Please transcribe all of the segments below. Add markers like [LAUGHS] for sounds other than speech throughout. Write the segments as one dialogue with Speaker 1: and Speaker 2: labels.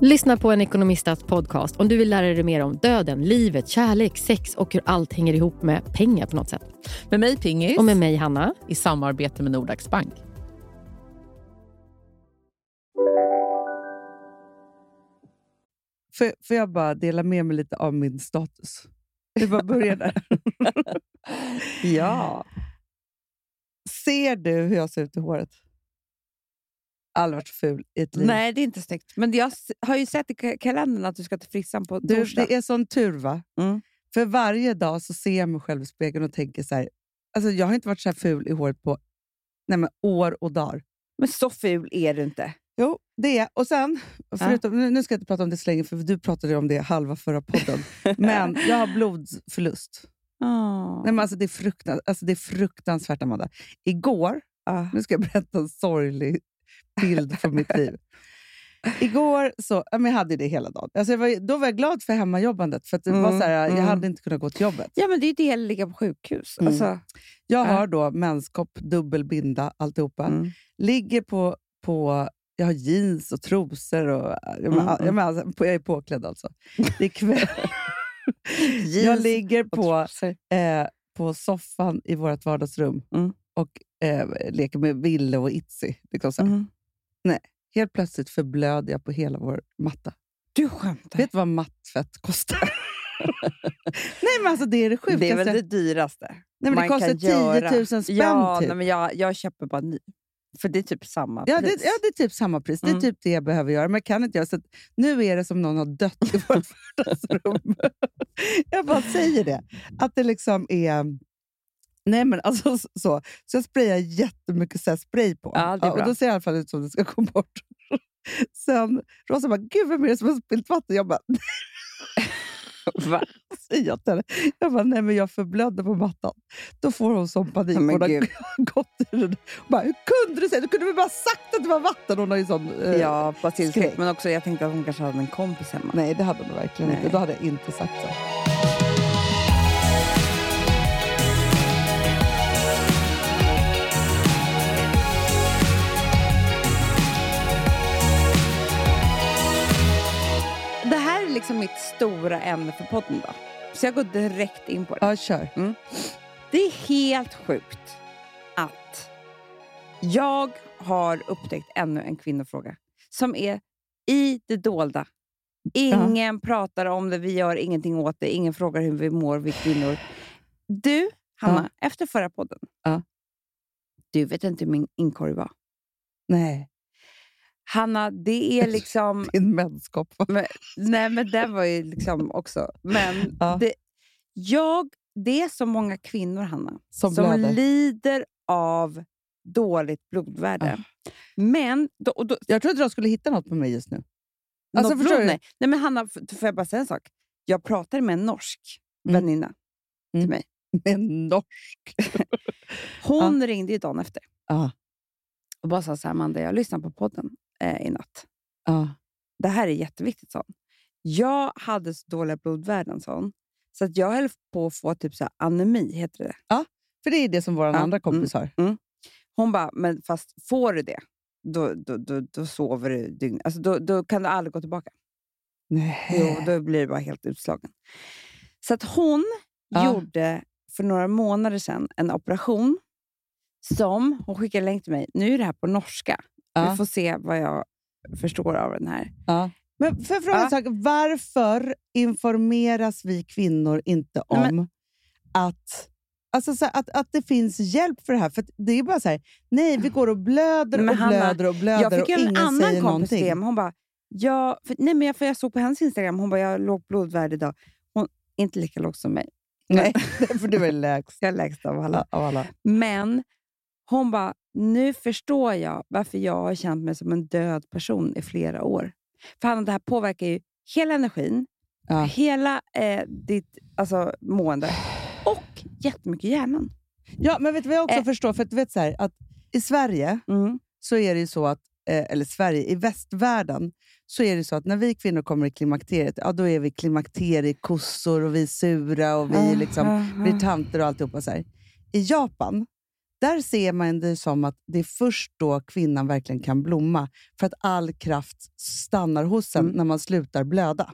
Speaker 1: Lyssna på en ekonomistats podcast om du vill lära dig mer om döden, livet, kärlek, sex och hur allt hänger ihop med pengar på något sätt.
Speaker 2: Med mig Pingis.
Speaker 1: Och med mig Hanna.
Speaker 2: I samarbete med Nordax Bank.
Speaker 3: Får, får jag bara dela med mig lite av min status? Vi bara börjar där. [LAUGHS] ja. Ser du hur jag ser ut i håret? Aldrig varit så ful i ett liv.
Speaker 4: Nej, det är inte snyggt. Men jag s- har ju sett i ka- kalendern att du ska till frissan på
Speaker 3: Du,
Speaker 4: torsdag.
Speaker 3: det är sån tur va?
Speaker 4: Mm.
Speaker 3: För varje dag så ser jag mig själv i spegeln och tänker så här, alltså jag har inte varit så här ful i håret på nej men, år och dagar.
Speaker 4: Men så ful är du inte.
Speaker 3: Jo, det är Och sen, förutom, nu- nu ska jag inte prata om det så länge, för du pratade om det halva förra [LAUGHS] podden. men jag har blodförlust.
Speaker 4: Ah.
Speaker 3: Nej, men alltså, det, är fruktans, alltså, det är fruktansvärt, Amanda. Igår,
Speaker 4: Ah.
Speaker 3: nu ska jag berätta en sorglig bild från mitt liv. Igår så, ja, men jag hade ju det hela dagen. Alltså, jag var, då var jag glad för hemmajobbandet, för att det var
Speaker 4: Mm,
Speaker 3: så här, jag
Speaker 4: mm.
Speaker 3: hade inte kunnat gå till jobbet.
Speaker 4: Ja, men det är ju det hela att ligga på sjukhus.
Speaker 3: Mm.
Speaker 4: Alltså,
Speaker 3: Jag
Speaker 4: Ja.
Speaker 3: har då menskopp, dubbelbinda, alltihopa.
Speaker 4: Mm.
Speaker 3: Ligger på, på... Jag har jeans och trosor. Och, jag, men,
Speaker 4: Mm,
Speaker 3: jag, men, alltså, på- jag är påklädd alltså. Det
Speaker 4: [LAUGHS]
Speaker 3: är kväll. jag ligger på, eh, på soffan i vårt vardagsrum
Speaker 4: Mm.
Speaker 3: och eh, leker med Ville och Itzy. Liksom så här.
Speaker 4: Mm.
Speaker 3: Helt plötsligt förblöder jag på hela vår matta.
Speaker 4: Du skämtar?
Speaker 3: Vet du vad mattfett kostar?
Speaker 4: [LAUGHS]
Speaker 3: Nej, men alltså det är det sjukaste.
Speaker 4: det är väl det dyraste
Speaker 3: Nej, men det
Speaker 4: man kan
Speaker 3: kostar 10 000
Speaker 4: göra.
Speaker 3: spänn
Speaker 4: ja,
Speaker 3: typ.
Speaker 4: nej, men jag, jag köper bara ny. För det är typ samma
Speaker 3: Ja det,
Speaker 4: pris.
Speaker 3: ja, det är typ samma pris. Det är
Speaker 4: Mm.
Speaker 3: typ det jag behöver göra, men jag kan inte göra. Så att nu är det som någon har dött i
Speaker 4: [LAUGHS]
Speaker 3: vårt vardagsrum. [LAUGHS] jag bara säger det. Att det liksom är... Nej, men alltså så- så. Så jag sprayar jättemycket så här spray på.
Speaker 4: Ja, det är
Speaker 3: och
Speaker 4: bra.
Speaker 3: då ser jag i alla fall ut som det ska gå bort. [LAUGHS] Sen Rosa bara, gud vem är det som har spillt vatten? Jag bara, [LAUGHS]
Speaker 4: Va?
Speaker 3: säger jag till henne. Jag bara, nej men jag förblödde på mattan. Då får hon sån panik.
Speaker 4: Men
Speaker 3: hon
Speaker 4: gud.
Speaker 3: har [LAUGHS] gått i den. Hon bara, hur kunde du säga? Du kunde väl bara sagt att det var vatten? Hon har ju sån... eh,
Speaker 4: Ja,
Speaker 3: skräck.
Speaker 4: basilskräck. Men också, jag tänkte att hon kanske hade en kompis hemma.
Speaker 3: Nej, det hade hon verkligen
Speaker 4: Nej.
Speaker 3: inte. Då hade jag inte sagt så.
Speaker 4: Det här är liksom mitt stora ämne för podden då. Så jag går direkt in på det.
Speaker 3: Ja, kör.
Speaker 4: Det är helt sjukt att jag har upptäckt ännu en kvinnofråga som är i det dolda. Ingen pratar om det, vi gör ingenting åt det, ingen frågar hur vi mår, vi kvinnor. Du, Hanna, efter förra podden.
Speaker 3: Ja.
Speaker 4: Du vet inte hur min inkorg var.
Speaker 3: Nej,
Speaker 4: Hanna, det
Speaker 3: [LAUGHS]
Speaker 4: är liksom...
Speaker 3: din mänskap.
Speaker 4: Nej, men den var ju liksom också... Men
Speaker 3: Ja.
Speaker 4: det, jag, det är så många kvinnor, Hanna,
Speaker 3: Som
Speaker 4: som,
Speaker 3: blöder.
Speaker 4: lider av dåligt blodvärde.
Speaker 3: Ah.
Speaker 4: Men... Då, och då,
Speaker 3: Jag tror inte de skulle hitta något på mig just nu.
Speaker 4: alltså,
Speaker 3: förstår du?
Speaker 4: nej. nej, men Hanna, f- får jag bara säga en sak? Jag pratade med en norsk
Speaker 3: Mm.
Speaker 4: väninna.
Speaker 3: Men norsk.
Speaker 4: Hon
Speaker 3: Ah.
Speaker 4: ringde ju dagen efter
Speaker 3: Ja.
Speaker 4: och bara sa så här, Amanda, jag lyssnade på podden eh, i natt.
Speaker 3: Ja.
Speaker 4: Det här är jätteviktigt, sa hon. Jag hade så dåliga blodvärden, sa hon. Så att jag höll på att få typ så här anemi, heter det.
Speaker 3: För det är det som vår
Speaker 4: Ja,
Speaker 3: andra kompis har.
Speaker 4: Hon bara, men fast får du det, då, då, då, då sover du dygnet. Alltså, då, då kan du aldrig gå tillbaka. Jo,
Speaker 3: Nej.
Speaker 4: då blir du bara helt utslagen. Så att hon
Speaker 3: Ja.
Speaker 4: gjorde för några månader sedan en operation som, hon skickade en länk till mig, nu är det här på norska.
Speaker 3: Ja.
Speaker 4: Vi får se vad jag förstår av den här.
Speaker 3: Men för fråga en
Speaker 4: Ja.
Speaker 3: sak. Varför informeras vi kvinnor inte om
Speaker 4: Nej,
Speaker 3: att, alltså så här, att, att det finns hjälp för det här? För att det är bara så här, nej, vi går och blöder
Speaker 4: Men
Speaker 3: och
Speaker 4: Hanna,
Speaker 3: blöder och blöder
Speaker 4: Jag fick
Speaker 3: och
Speaker 4: ju en
Speaker 3: ingen
Speaker 4: annan
Speaker 3: säger
Speaker 4: kompis
Speaker 3: någonting.
Speaker 4: till det, men hon bara, ja, för, nej, men jag, för jag såg på hennes Instagram, hon bara, jag har lågt blodvärde idag. Hon är inte lika lågt som mig.
Speaker 3: Nej, [LAUGHS] för du är lägst
Speaker 4: Jag är lägst av alla.
Speaker 3: av alla.
Speaker 4: Men hon bara, nu förstår jag varför jag har känt mig som en död person i flera år. För Hanna, det här påverkar ju hela energin,
Speaker 3: Ja.
Speaker 4: hela eh, ditt alltså, mående och jättemycket hjärnan.
Speaker 3: Ja, men vet du vad jag också
Speaker 4: Eh.
Speaker 3: förstår? För att, du vet så här, att i Sverige
Speaker 4: Mm.
Speaker 3: så är det ju så att, eh, eller Sverige, i västvärlden, så är det så att när vi kvinnor kommer i klimakteriet, ja då är vi klimakteriekossor och vi är sura och vi
Speaker 4: Ah.
Speaker 3: är liksom, blir tanter och alltihopa. Så här. I Japan, där ser man det som att det är först då kvinnan verkligen kan blomma, för att all kraft stannar hos en
Speaker 4: Mm.
Speaker 3: när man slutar blöda.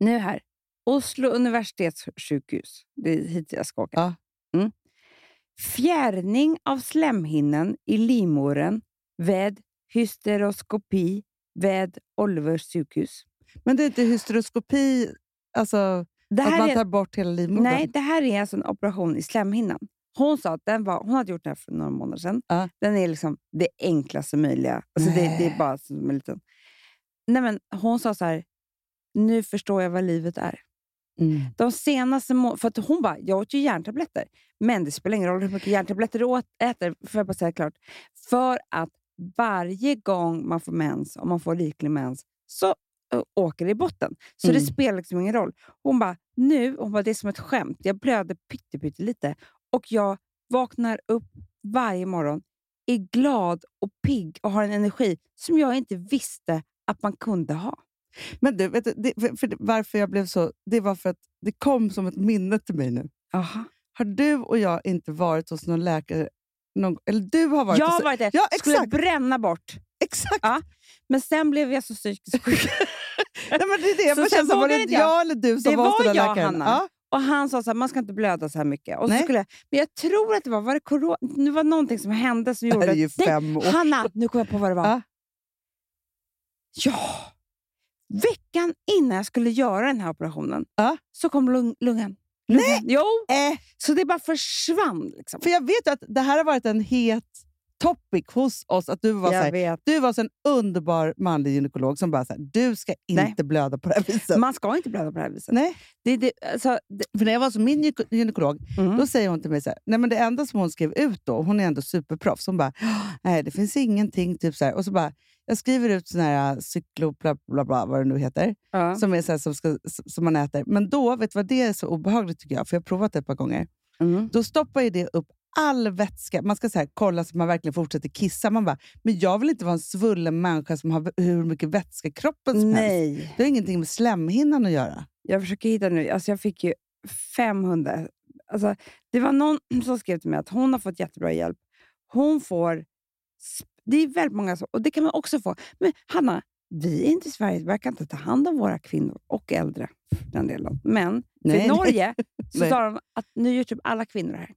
Speaker 4: Nu här. Oslo universitetssjukhus. Det är hit jag ska åka.
Speaker 3: Ja.
Speaker 4: Mm. Fjärrning av slemhinnan i livmodern vid hysteroskopi vid Olvers sjukhus.
Speaker 3: Men det är inte hysteroskopi, alltså
Speaker 4: Det
Speaker 3: att
Speaker 4: här
Speaker 3: man
Speaker 4: är,
Speaker 3: tar bort hela livmodern?
Speaker 4: nej, det här är alltså en operation i slemhinnan. Hon sa att den var, hon hade gjort det här för några månader sedan.
Speaker 3: Ja.
Speaker 4: Den är liksom det enklaste möjliga. Alltså det, det
Speaker 3: Nej.
Speaker 4: är bara som en liten... Nej, men hon sa så här, nu förstår jag vad livet är.
Speaker 3: Mm.
Speaker 4: De senaste må- för att hon bara, jag åt ju järntabletter. Men det spelar ingen roll hur mycket järntabletter du åt, äter, för att bara säga klart. För att varje gång man får mens, om man får riklig mens, så ö, åker det i botten. Så det
Speaker 3: Mm.
Speaker 4: spelar liksom ingen roll. Hon bara, nu, hon bara, det är som ett skämt. Jag blöder pytte, pytte lite och jag vaknar upp varje morgon, är glad och pigg och har en energi som jag inte visste att man kunde ha.
Speaker 3: Men du, vet du det, för, för, varför jag blev så... Det var för att det kom som ett minne till mig nu.
Speaker 4: Aha.
Speaker 3: Har du och jag inte varit hos någon läkare... Någon, eller du har varit
Speaker 4: Jag
Speaker 3: hos...
Speaker 4: har varit där.
Speaker 3: Ja,
Speaker 4: Skulle
Speaker 3: exakt!
Speaker 4: bränna bort.
Speaker 3: exakt.
Speaker 4: Ja, Men sen blev jag så psykiskt
Speaker 3: [LAUGHS]
Speaker 4: sjuk.
Speaker 3: Nej, men det är det. Jag
Speaker 4: Så
Speaker 3: bara
Speaker 4: sen
Speaker 3: känner så var det
Speaker 4: vågade
Speaker 3: inte
Speaker 4: jag.
Speaker 3: jag eller du som
Speaker 4: Det
Speaker 3: var hos
Speaker 4: var
Speaker 3: den där
Speaker 4: jag,
Speaker 3: läkaren?
Speaker 4: Hanna.
Speaker 3: Ja.
Speaker 4: Och han sa så här, man ska inte blöda så här mycket. Och så
Speaker 3: Nej.
Speaker 4: skulle jag, men jag tror att det var, var det corona? Det var någonting som hände som
Speaker 3: Det
Speaker 4: gjorde
Speaker 3: här är ju
Speaker 4: att... Nej,
Speaker 3: fem år.
Speaker 4: Hanna, nu kom jag på vad det var.
Speaker 3: Ja.
Speaker 4: Ja! Veckan innan jag skulle göra den här operationen
Speaker 3: Ja.
Speaker 4: så kom lung, lungan. Nej! Jo!
Speaker 3: Eh,
Speaker 4: Så det bara försvann. Liksom.
Speaker 3: för jag vet ju att det här har varit en het topic hos oss. Att du var, så
Speaker 4: Jag
Speaker 3: här,
Speaker 4: vet.
Speaker 3: du var så en underbar manlig gynekolog som bara så här, du ska
Speaker 4: Nej.
Speaker 3: inte blöda på det här viset.
Speaker 4: Man ska inte blöda på det här viset.
Speaker 3: Nej.
Speaker 4: Det, det, alltså, det,
Speaker 3: För när jag var hos min gyne- gynekolog,
Speaker 4: Mm.
Speaker 3: då säger hon till mig så här, nej men det enda som hon skrev ut då, hon är ändå superproffs, hon bara, "Ah, nej det finns ingenting, typ så här. Och så bara, jag skriver ut sån här cyklo, bla, bla, bla, vad det nu heter,
Speaker 4: ja.
Speaker 3: som, är så här, som, ska, som man äter. Men då, vet du vad det är så obehagligt tycker jag, för jag har provat det ett par gånger.
Speaker 4: mm.
Speaker 3: Då stoppar ju det upp all vätska. Man ska så här, kolla så man verkligen fortsätter kissa. Man bara, men jag vill inte vara en svullen människa som har v- hur mycket vätska i kroppen som helst.
Speaker 4: Mm. Nej.
Speaker 3: Det har ingenting med slemhinnan att göra.
Speaker 4: Jag försöker hitta nu. Alltså jag fick ju 500. Alltså, det var någon [CLEARS THROAT] som skrev till mig att hon har fått jättebra hjälp. Hon får... sp- Det är väldigt många som... Och det kan man också få. Men Hanna, vi är inte i Sverige. Vi verkar inte ta hand om våra kvinnor och äldre. för Den delen. Men
Speaker 3: Nej,
Speaker 4: i
Speaker 3: nej.
Speaker 4: Norge
Speaker 3: [LAUGHS]
Speaker 4: så
Speaker 3: Nej.
Speaker 4: sa de att nu gör typ alla kvinnor det här.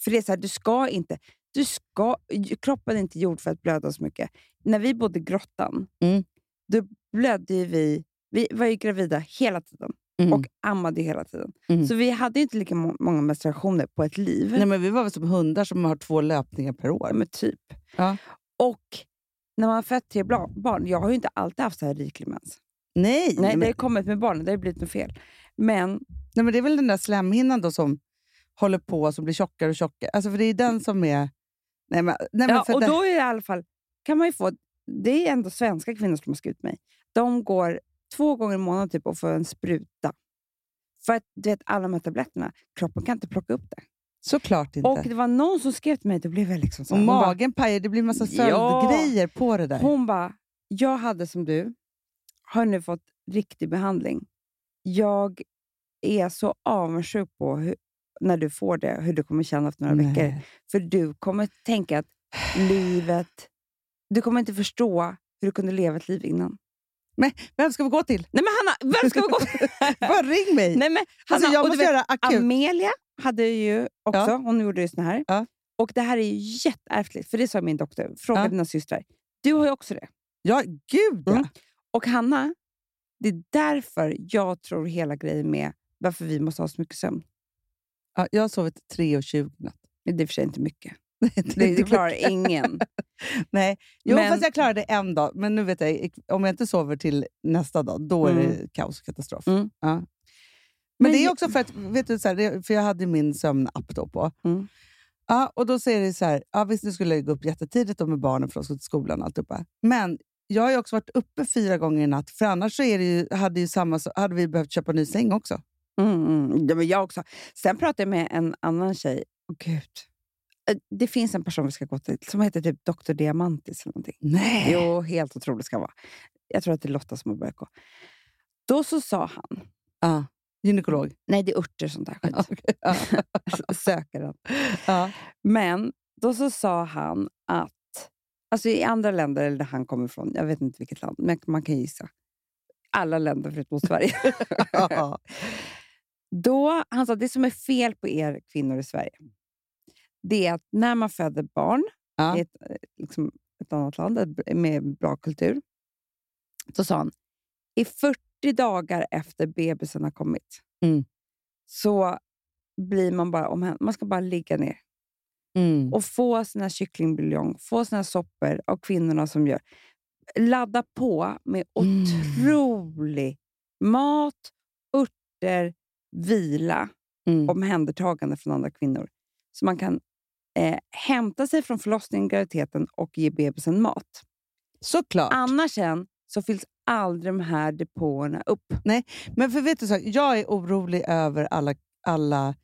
Speaker 4: För det är så här, du ska inte... Du ska, kroppen är inte gjord för att blöda så mycket. När vi bodde i grottan,
Speaker 3: Mm.
Speaker 4: då blödde ju vi... Vi var ju gravida hela tiden
Speaker 3: Mm.
Speaker 4: och ammade ju hela tiden.
Speaker 3: Mm.
Speaker 4: Så vi hade ju inte lika må- många menstruationer på ett liv.
Speaker 3: Nej, men vi var väl som hundar som har två löpningar per år.
Speaker 4: Ja, men typ.
Speaker 3: Ja.
Speaker 4: Och när man har fött tre bla- barn, jag har ju inte alltid haft så här riklig mens.
Speaker 3: Nej,
Speaker 4: Nej,
Speaker 3: men,
Speaker 4: det
Speaker 3: det...
Speaker 4: har kommit med barnen, det har ju blivit något fel. Men
Speaker 3: nej, men det är väl den där slemhinnan då som håller på som blir tjockare och tjockare. Alltså, för det är den som är... Nej, men, nej, men
Speaker 4: Mm. Ja,
Speaker 3: för
Speaker 4: och
Speaker 3: det...
Speaker 4: då är det i alla fall, kan man ju få, det är ändå svenska kvinnor som har skrivit mig. De går två gånger i månaden typ och får en spruta. För att du vet, alla de här tabletterna, kroppen kan inte plocka upp det.
Speaker 3: Såklart inte.
Speaker 4: Och det var någon som skrev till mig, då blev jag liksom så
Speaker 3: Och
Speaker 4: här, hon bara-
Speaker 3: magen pajar, det blir massa
Speaker 4: Ja.
Speaker 3: följdgrejer på det där.
Speaker 4: Hon bara, jag hade som du, har nu fått riktig behandling. Jag är så avundsjuk på hur, när du får det, hur du kommer känna efter några
Speaker 3: Nej.
Speaker 4: veckor. För du kommer tänka att livet... Du kommer inte förstå hur du kunde leva ett liv innan.
Speaker 3: Vem ska vi gå till?
Speaker 4: Nej men Hanna, vem ska [LAUGHS] vi gå till?
Speaker 3: Bara ring mig!
Speaker 4: Äh, Nej, men, Hanna,
Speaker 3: alltså, jag
Speaker 4: och du
Speaker 3: måste
Speaker 4: vet,
Speaker 3: göra akut.
Speaker 4: Amelia hade ju också, hon gjorde ju sån här.
Speaker 3: Ja.
Speaker 4: Och det här är ju jätteärftligt, för det sa min doktor. Fråga
Speaker 3: Ja.
Speaker 4: dina systrar. Du har ju också det.
Speaker 3: Ja, gud ja.
Speaker 4: Mm. Och Hanna, det är därför jag tror hela grejen med varför vi måste ha så mycket sömn.
Speaker 3: ja! Jag har sovit 3.20 i natt. [LAUGHS]
Speaker 4: Det är i och för sig inte [LAUGHS] mycket.
Speaker 3: Nej, är
Speaker 4: Det,
Speaker 3: inte
Speaker 4: det klarar ingen.
Speaker 3: Nej. Jo,
Speaker 4: Men-
Speaker 3: fast jag klarade det en dag. Men nu vet jag, om jag inte sover till nästa dag, då är det kaos och katastrof.
Speaker 4: Mm.
Speaker 3: Ja. Men,
Speaker 4: Men
Speaker 3: det är
Speaker 4: jag-
Speaker 3: också för att, vet du, så här, det- för jag hade min sömnapp då på.
Speaker 4: Mm.
Speaker 3: Ja, och då säger det så här, ja, visst nu skulle jag gå upp jättetidigt då med barnen för de skulle till skolan och alltihopa. Men jag har ju också varit uppe fyra gånger i natt, för annars så är det ju, hade, ju samma, så- hade vi behövt köpa ny säng också.
Speaker 4: Mm, mm. Ja, men jag också. Sen pratade jag med en annan tjej. Åh, Gud. eh, det finns en person vi ska gå till som heter typ Dr. Diamantis eller någonting.
Speaker 3: Nej.
Speaker 4: Jo, helt otroligt ska han vara. Jag tror att det är Lotta som har börjat gå. Då så sa han,
Speaker 3: Ja.
Speaker 4: [LAUGHS]
Speaker 3: Gynekolog.
Speaker 4: nej det är örter sånt där skit.
Speaker 3: [LAUGHS] Okej.
Speaker 4: [LAUGHS]
Speaker 3: Ja.
Speaker 4: Söker han.
Speaker 3: Ja.
Speaker 4: Men då så sa han att, alltså i andra länder eller där han kommer ifrån, jag vet inte vilket land, men man kan gissa. Alla länder förutom Sverige.
Speaker 3: Ja.
Speaker 4: Då, han sa det som är fel på er kvinnor i Sverige, det är att när man föder barn
Speaker 3: Ja.
Speaker 4: i ett, eh, liksom, ett annat land ett- med bra kultur, så sa han i 40 dagar efter bebisen har kommit
Speaker 3: Mm.
Speaker 4: så blir man bara omhänd. Man ska bara ligga ner
Speaker 3: Mm.
Speaker 4: och få sina kycklingbuljong, få sina soppor av kvinnorna som gör. Ladda på med
Speaker 3: Mm.
Speaker 4: otrolig mat, örter, vila,
Speaker 3: Mm.
Speaker 4: omhändertagande från andra kvinnor. Så man kan eh, hämta sig från förlossningen, graviditeten och ge bebisen mat.
Speaker 3: Såklart.
Speaker 4: Annars sen så fylls aldrig de här depåerna upp.
Speaker 3: Men för vet du så, jag är orolig över alla, alla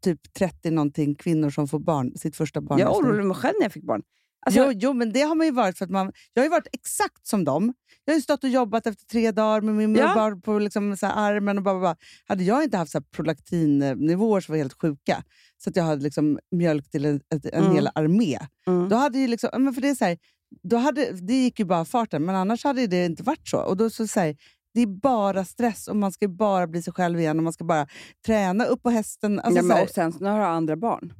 Speaker 3: typ 30 någonting kvinnor som får barn, sitt första barn.
Speaker 4: Jag
Speaker 3: nästa år.
Speaker 4: oroade mig själv när jag fick barn. Alltså,
Speaker 3: jo, jo, men det har man ju varit. för att man, Jag har ju varit exakt som dem. Jag har ju stått och jobbat efter tre dagar med min
Speaker 4: Ja.
Speaker 3: mubbar på liksom så här armen. och bara, bara, bara. Hade jag inte haft så här prolaktinnivåer som var helt sjuka, så att jag hade liksom mjölk till en, ett- en
Speaker 4: Mm.
Speaker 3: hel armé,
Speaker 4: Mm.
Speaker 3: då hade ju liksom... ja, Men för det, är så här, då hade, det gick ju bara av farten, men annars hade ju det inte varit så. Och då så, så här, det är bara stress och man ska ju bara bli sig själv igen och man ska bara träna upp på hästen. Alltså,
Speaker 4: Nej,
Speaker 3: så
Speaker 4: men,
Speaker 3: här,
Speaker 4: och sen så har du andra barn.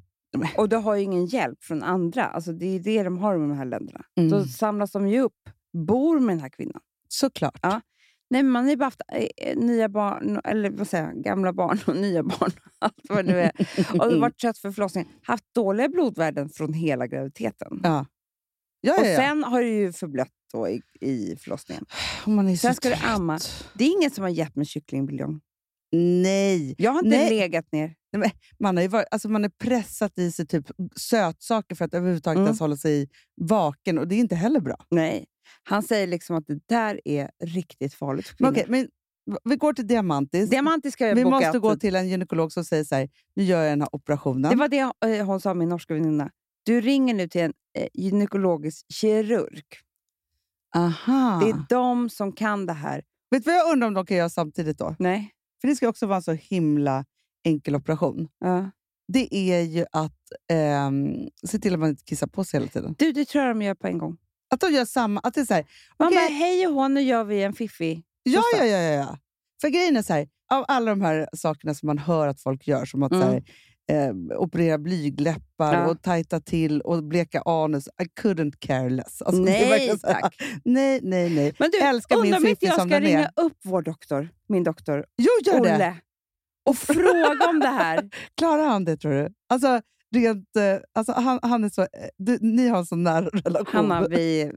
Speaker 4: Och du har ju ingen hjälp från andra. Alltså, det är ju det de har i de här länderna.
Speaker 3: Mm.
Speaker 4: Då samlas de ju upp, bor med den här kvinnan.
Speaker 3: Såklart.
Speaker 4: Ja. Nej, men man har ju bara haft eh, eh, nya barn, eller vad säger jag, gamla barn och [LAUGHS] nya barn. Allt vad det nu är. Och det har varit trött för förlossningen. Haft dåliga blodvärden från hela graviditeten.
Speaker 3: Ja. Ja,
Speaker 4: Och
Speaker 3: ja, ja.
Speaker 4: sen har du ju förblött då i, i förlossningen.
Speaker 3: Och man är
Speaker 4: sen
Speaker 3: så
Speaker 4: ska du
Speaker 3: trött.
Speaker 4: amma. Det är ingen som har gett mig kycklingbuljong.
Speaker 3: Nej.
Speaker 4: Jag har inte
Speaker 3: Nej.
Speaker 4: legat ner.
Speaker 3: Man, har ju varit, alltså man är pressat i sig typ sötsaker för att överhuvudtaget
Speaker 4: Mm.
Speaker 3: ens hålla sig vaken och det är inte heller bra.
Speaker 4: Nej. Han säger liksom att det där är riktigt farligt för
Speaker 3: Men,
Speaker 4: kvinnor.
Speaker 3: okej, men v- Vi går till Diamantis.
Speaker 4: Diamantis ska jag
Speaker 3: vi
Speaker 4: boka.
Speaker 3: måste gå till en gynekolog som säger så här, nu gör jag den här operationen.
Speaker 4: Det var det eh, hon sa, min norska väninna. Du ringer nu till en eh, gynekologisk kirurg.
Speaker 3: Aha.
Speaker 4: Det är de som kan det här.
Speaker 3: Vet du vad jag undrar om de kan göra samtidigt då?
Speaker 4: Nej.
Speaker 3: För det ska också vara en så himla enkel operation.
Speaker 4: Ja.
Speaker 3: Det är ju att ehm, se till att man inte kissar på sig hela tiden.
Speaker 4: Du, det tror jag de gör på en gång.
Speaker 3: Att de gör samma, att det är så här,
Speaker 4: Man
Speaker 3: Okej.
Speaker 4: bara, hej och hå, nu gör vi en fiffi.
Speaker 3: Ja,
Speaker 4: Just
Speaker 3: ja, ja, ja, ja. För grejen är så här, av alla de här sakerna som man hör att folk gör, som att så
Speaker 4: Mm.
Speaker 3: här, eh, operera blygläppar
Speaker 4: Ja.
Speaker 3: och tajta till och bleka anus, I couldn't care less. Alltså, det är
Speaker 4: Nej,
Speaker 3: verkligen så här,
Speaker 4: tack.
Speaker 3: Nej, nej, nej.
Speaker 4: Men du,
Speaker 3: Älskar min
Speaker 4: undrar om inte
Speaker 3: fiffi
Speaker 4: jag
Speaker 3: som
Speaker 4: ska
Speaker 3: den är.
Speaker 4: ringa upp vår doktor, min doktor,
Speaker 3: Jo, gör det!
Speaker 4: Olle, och fråga om det
Speaker 3: [LAUGHS]
Speaker 4: här.
Speaker 3: Klarar han det, tror du? Alltså, rent, eh, alltså, han, han är så, eh, du, ni har en sån nära relation.
Speaker 4: Hanna, vi,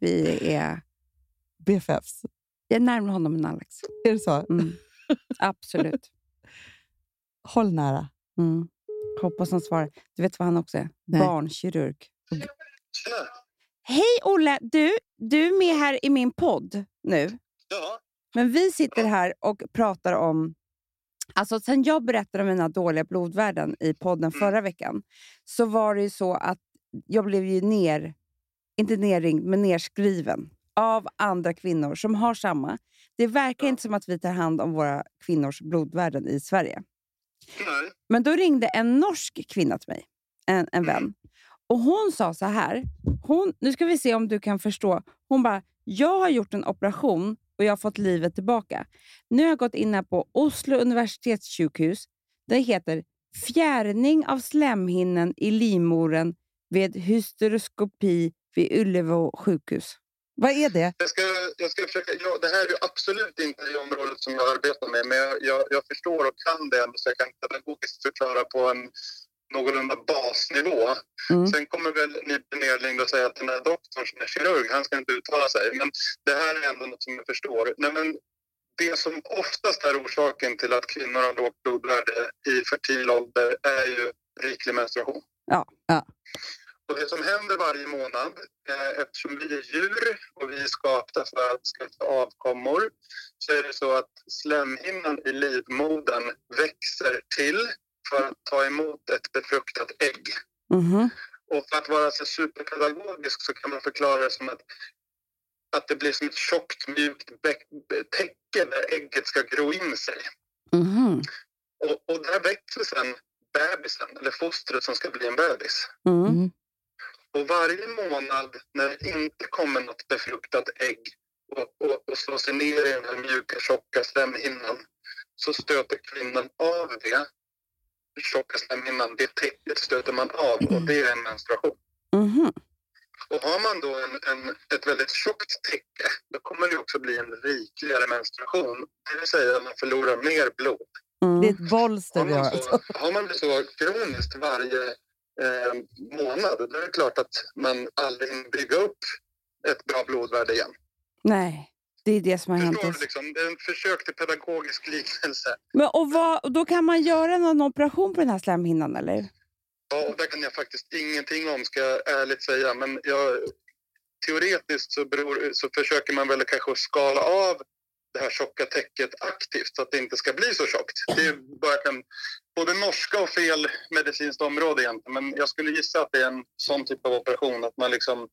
Speaker 4: vi är...
Speaker 3: BFFs.
Speaker 4: Jag är närmare honom än Alex.
Speaker 3: Är det så?
Speaker 4: Mm. Absolut.
Speaker 3: Håll nära.
Speaker 4: Mm. Hoppas han svarar. Du vet vad han också är?
Speaker 3: Nej.
Speaker 4: Barnkirurg. Hej Olle! Du, du är med här i min podd nu.
Speaker 5: Ja,
Speaker 4: Men vi sitter här och pratar om... Alltså sen jag berättade om mina dåliga blodvärden i podden förra veckan så var det ju så att jag blev ju ner... Inte nerringd, men nerskriven av andra kvinnor som har samma. Det verkar inte som att vi tar hand om våra kvinnors blodvärden i Sverige.
Speaker 5: nej.
Speaker 4: Men då ringde en norsk kvinna till mig, en, en vän. Och Hon sa så här, hon, nu ska vi se om du kan förstå. Hon bara, jag har gjort en operation och jag har fått livet tillbaka. Nu har jag gått in här på Oslo universitetssjukhus. Det heter fjärning av slemhinnan i livmodern vid hysteroskopi vid Uleå sjukhus.
Speaker 3: Vad är det?
Speaker 5: Jag ska, jag ska försöka, ja, det här är ju absolut inte det området som jag arbetar med men jag, jag, jag förstår och kan det ändå så jag kan pedagogiskt förklara på en någorlunda basnivå.
Speaker 4: Mm.
Speaker 5: Sen kommer väl ni bli nerringda och säga att den där doktorn som är kirurg, han ska inte uttala sig. Men det här är ändå något som jag förstår. Nej, men det som oftast är orsaken till att kvinnor har lågt blodvärde i fertil ålder är ju riklig menstruation.
Speaker 4: Ja,
Speaker 3: ja.
Speaker 5: Och det som händer varje månad, eh, eftersom vi är djur och vi är skapta för att skaffa avkommor, så är det så att slemhinnan i livmodern växer till för att ta emot ett befruktat ägg.
Speaker 4: Mhm.
Speaker 5: Och för att vara så superpedagogisk så kan man förklara det som att, att det blir som ett tjockt mjukt bä- täcke där ägget ska gro in sig.
Speaker 4: Mhm.
Speaker 5: Och, och där växer sen bebisen, eller fostret som ska bli en bebis.
Speaker 4: Mm.
Speaker 5: Och varje månad när det inte kommer något befruktat ägg och, och, och slår sig ner i den här mjuka, tjocka slemhinnan så stöter kvinnan av det tjocka slemhinnan. Det täcket stöter man av och det är en menstruation.
Speaker 4: Mhm.
Speaker 5: Och har man då en, en, ett väldigt tjockt täcke då kommer det också bli en rikligare menstruation. Det vill säga att man förlorar mer blod.
Speaker 4: Mm.
Speaker 3: Det är ett bolster
Speaker 5: Har
Speaker 3: vi har.
Speaker 5: man,
Speaker 3: Alltså.
Speaker 5: så, har man det så kroniskt varje eh, månad, då är det klart att man aldrig hinner bygga upp ett bra blodvärde igen.
Speaker 4: Nej, det är det som har hänt
Speaker 5: Förstår du?
Speaker 4: oss.
Speaker 5: Liksom? Det är en försök till pedagogisk liknelse.
Speaker 4: Men, och vad, och då kan man göra någon operation på den här slemhinnan, eller?
Speaker 5: Ja, och där kan jag faktiskt ingenting om, ska jag ärligt säga. Men jag, teoretiskt så, beror, så försöker man väl kanske att skala av det här tjocka täcket aktivt så att det inte ska bli så tjockt. Det är bara en, både norska och fel medicinskt område egentligen. Men jag skulle gissa att det är en sån typ av operation. Att man liksom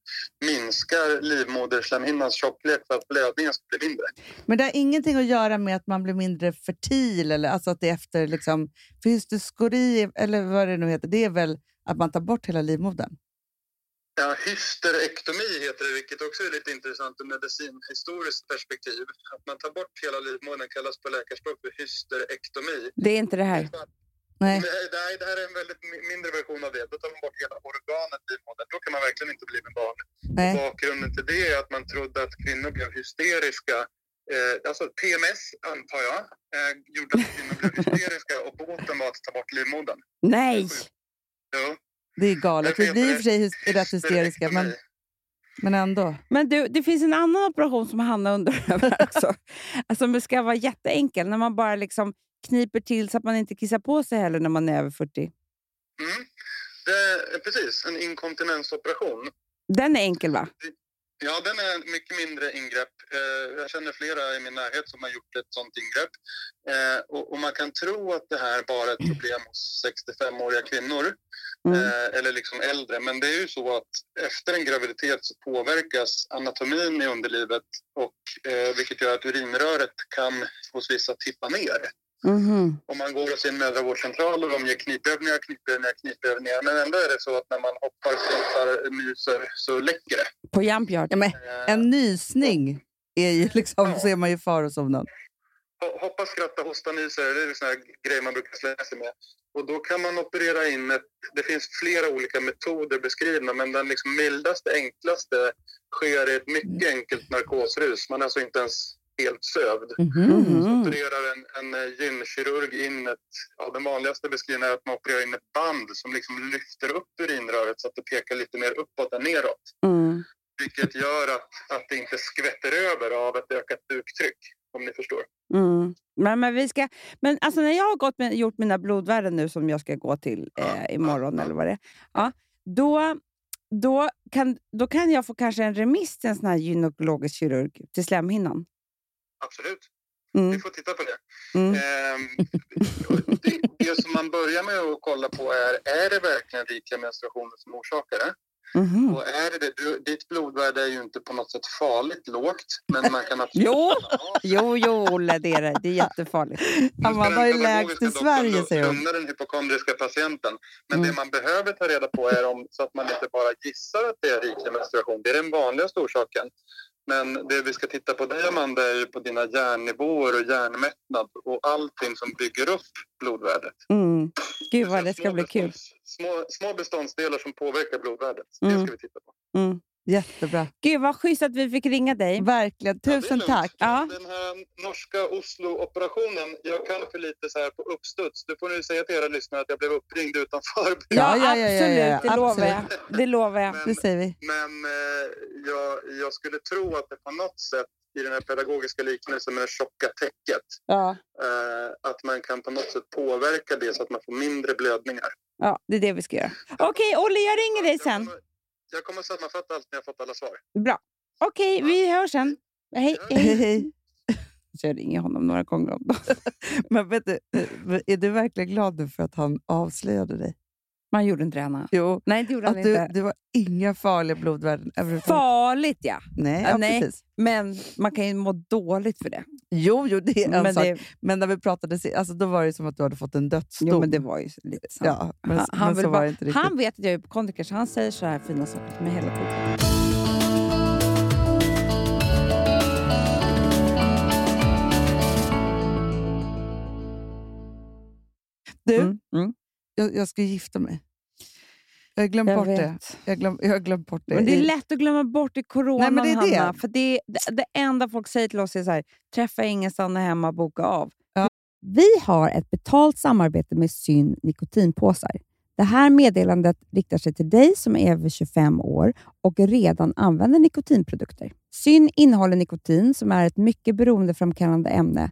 Speaker 5: minskar livmoderslemhinnans tjocklek för att blödningen ska bli mindre.
Speaker 3: Men det har ingenting att göra med att man blir mindre fertil? Eller, alltså att det är efter, liksom, för hystoskori, eller vad det nu heter, det är väl att man tar bort hela livmodern?
Speaker 5: Ja, hysterektomi heter det, vilket också är lite intressant ur medicinhistoriskt perspektiv. Att man tar bort hela livmodern kallas på läkarspråk för hysterektomi.
Speaker 4: Det är inte det här.
Speaker 3: Nej.
Speaker 5: Nej, det här- det här är en väldigt mi- mindre version av det. Då tar man bort hela organet i livmodern. Då kan man verkligen inte bli med barn.
Speaker 3: Nej.
Speaker 5: Bakgrunden till det är att man trodde att kvinnor blev hysteriska. Eh, alltså PMS, antar jag, eh, gjorde att kvinnor
Speaker 3: [LAUGHS]
Speaker 5: blev hysteriska och båten var att ta bort livmodern.
Speaker 4: Nej!
Speaker 5: Jo,
Speaker 3: Det är galet. Vi
Speaker 5: därför
Speaker 3: blir i och
Speaker 5: heter
Speaker 3: för sig hys- rätt hysteriska, men,
Speaker 5: hysterektomi.
Speaker 3: men ändå.
Speaker 4: Men du, det finns en annan operation som Hanna undrar [LAUGHS] över också. Alltså, det ska vara jätteenkel, när man bara liksom kniper till så att man inte kissar på sig heller när man är över 40.
Speaker 5: Mm. Det är, precis, en inkontinensoperation.
Speaker 4: Den är enkel, va?
Speaker 5: Ja, den är mycket mindre ingrepp. Eh, Jag känner flera i min närhet som har gjort ett sånt ingrepp. Eh, Och, och man kan tro att det här bara är ett problem hos 65-åriga kvinnor
Speaker 4: Mm.
Speaker 5: eh, eller liksom äldre. Men det är ju så att efter en graviditet så påverkas anatomin i underlivet och, eh, vilket gör att urinröret kan hos vissa tippa ner.
Speaker 4: Mhm.
Speaker 5: Om man går hos sin mödravårdscentral och de ger knipövningar, knipövningar, knipövningar. Men ändå är det så att när man hoppar, flätar, myser så läcker det.
Speaker 4: På JumpYard.
Speaker 3: Ja, men
Speaker 5: Eh,
Speaker 3: en nysning är ju liksom, så är man ju farozonen.
Speaker 5: Eh, Ho- Hoppa, skratta, hosta, nysa. Det är en sån här grej man brukar slänga sig med. Och då kan man operera in ett... Det finns flera olika metoder beskrivna men den liksom mildaste, enklaste sker i ett mycket enkelt narkosrus. Man är alltså inte ens helt sövd.
Speaker 3: Mm-hmm.
Speaker 4: Mhm.
Speaker 3: Mm.
Speaker 5: Opererar en, en eh, gynkirurg in ett... Ja, den vanligaste beskrivningen är att man opererar in ett band som liksom lyfter upp urinröret så att det pekar lite mer uppåt än neråt.
Speaker 4: Mm.
Speaker 5: Vilket gör att, att det inte skvätter över av ett ökat buktryck, om ni förstår.
Speaker 4: Mm. Men, men, vi ska, men alltså när jag har gått med, gjort mina blodvärden nu som jag ska gå till eh, imorgon eller vad det är. Ja, då, då, kan, då kan jag få kanske en remiss till en sån här gynekologisk kirurg till slemhinnan.
Speaker 5: Absolut. Vi
Speaker 4: Mm.
Speaker 5: får titta på det.
Speaker 4: Mm.
Speaker 5: Ehm,
Speaker 4: [LAUGHS]
Speaker 5: det. Det som man börjar med att kolla på är, är det verkligen rikliga menstruationer som orsakar det?
Speaker 4: Mhm.
Speaker 5: Och är det det, du, ditt blodvärde är ju inte på något sätt farligt lågt, men man kan absolut...
Speaker 4: Jo.
Speaker 5: Ja,
Speaker 4: Jo, jo, Olle, det är det. Det är jättefarligt.
Speaker 5: men
Speaker 3: Han bara,
Speaker 5: den
Speaker 3: vad är
Speaker 5: pedagogiska
Speaker 3: lägst i
Speaker 5: doktorn
Speaker 3: Sverige,
Speaker 5: lugn-
Speaker 3: säger hon.
Speaker 5: Lugnar den hypokondriska patienten. Men
Speaker 4: Mm.
Speaker 5: det man behöver ta reda på är om, så att man inte bara gissar att det är riklig menstruation. Det är den vanligaste orsaken. Men det vi ska titta på dig, Amanda, är ju på dina järnnivåer och järnmättnad och allting som bygger upp blodvärdet.
Speaker 4: Mm. Gud vad
Speaker 5: Så
Speaker 4: det
Speaker 5: små
Speaker 4: ska bli kul.
Speaker 5: bestånds- Små, små beståndsdelar som påverkar blodvärdet. Det
Speaker 4: Mm.
Speaker 5: ska vi titta på.
Speaker 3: Jättebra.
Speaker 4: Gud vad schysst att vi fick ringa dig.
Speaker 3: Verkligen.
Speaker 5: Ja, det är
Speaker 3: Tusen
Speaker 5: lugnt.
Speaker 3: tack.
Speaker 4: Ja.
Speaker 5: Den här norska Oslo-operationen, jag kan för lite så här på uppstuds. Du får nu säga till era lyssnare att jag blev uppringd utan förberedelse.
Speaker 3: Ja,
Speaker 4: Ja,
Speaker 3: ja, ja, ja, ja,
Speaker 4: absolut. Det lovar jag. Det lovar jag.
Speaker 3: Det
Speaker 5: Men,
Speaker 3: säger vi.
Speaker 5: men eh, jag, jag skulle tro att det på något sätt i den här pedagogiska liknelsen med det tjocka täcket,
Speaker 4: Ja,
Speaker 5: eh, att man kan på något sätt påverka det så att man får mindre blödningar.
Speaker 4: ja, det är det vi ska göra. Okej, Olle, jag ringer dig
Speaker 5: Jag
Speaker 4: sen.
Speaker 5: kommer- Jag kommer sammanfatta allt när jag fått alla svar.
Speaker 4: Okej, vi hörs sen. Hej,
Speaker 3: Hej,
Speaker 4: hej.
Speaker 3: hej.
Speaker 4: Så [LAUGHS] jag ringer honom några gånger om dagen.
Speaker 3: Men vet du, är du verkligen glad nu för att han avslöjade dig?
Speaker 4: Man gjorde inte det, Hanna.
Speaker 3: Jo,
Speaker 4: Nej, det gjorde
Speaker 3: att
Speaker 4: han
Speaker 3: du,
Speaker 4: inte.
Speaker 3: det var inga farliga blodvärden överhuvudtaget.
Speaker 4: Farligt, ja.
Speaker 3: Nej,
Speaker 4: Ja,
Speaker 3: ja,
Speaker 4: nej.
Speaker 3: precis.
Speaker 4: Men man kan ju må dåligt för det. [LAUGHS]
Speaker 3: Jo, jo, det är en
Speaker 4: Men
Speaker 3: sak.
Speaker 4: det,
Speaker 3: Men när vi pratade sist, alltså, då var det som att du hade fått en dödsdom.
Speaker 4: jo, men det var ju lite sant.
Speaker 3: ja, men,
Speaker 4: Han- han
Speaker 3: men
Speaker 4: vill
Speaker 3: så var
Speaker 4: bara-
Speaker 3: det inte riktigt.
Speaker 4: Han vet att jag är kontiker, så han säger så här fina saker till mig hela tiden.
Speaker 3: Du,
Speaker 4: Mm, mm.
Speaker 3: jag, jag ska gifta mig. Jag har glömt
Speaker 4: Jag
Speaker 3: bort
Speaker 4: vet.
Speaker 3: det. Jag, glöm, jag har glömt bort det.
Speaker 4: Men det är
Speaker 3: i-
Speaker 4: lätt att glömma bort i
Speaker 3: Nej,
Speaker 4: coronan,
Speaker 3: men det är det.
Speaker 4: Hanna. För det, det, det enda folk säger till oss är så här, träffa ingen, stanna hemma, boka av.
Speaker 3: Ja.
Speaker 4: Vi har ett betalt samarbete med Syn nikotinpåsar. Det här meddelandet riktar sig till dig som är över 25 år och redan använder nikotinprodukter. Syn innehåller nikotin som är ett mycket beroendeframkallande ämne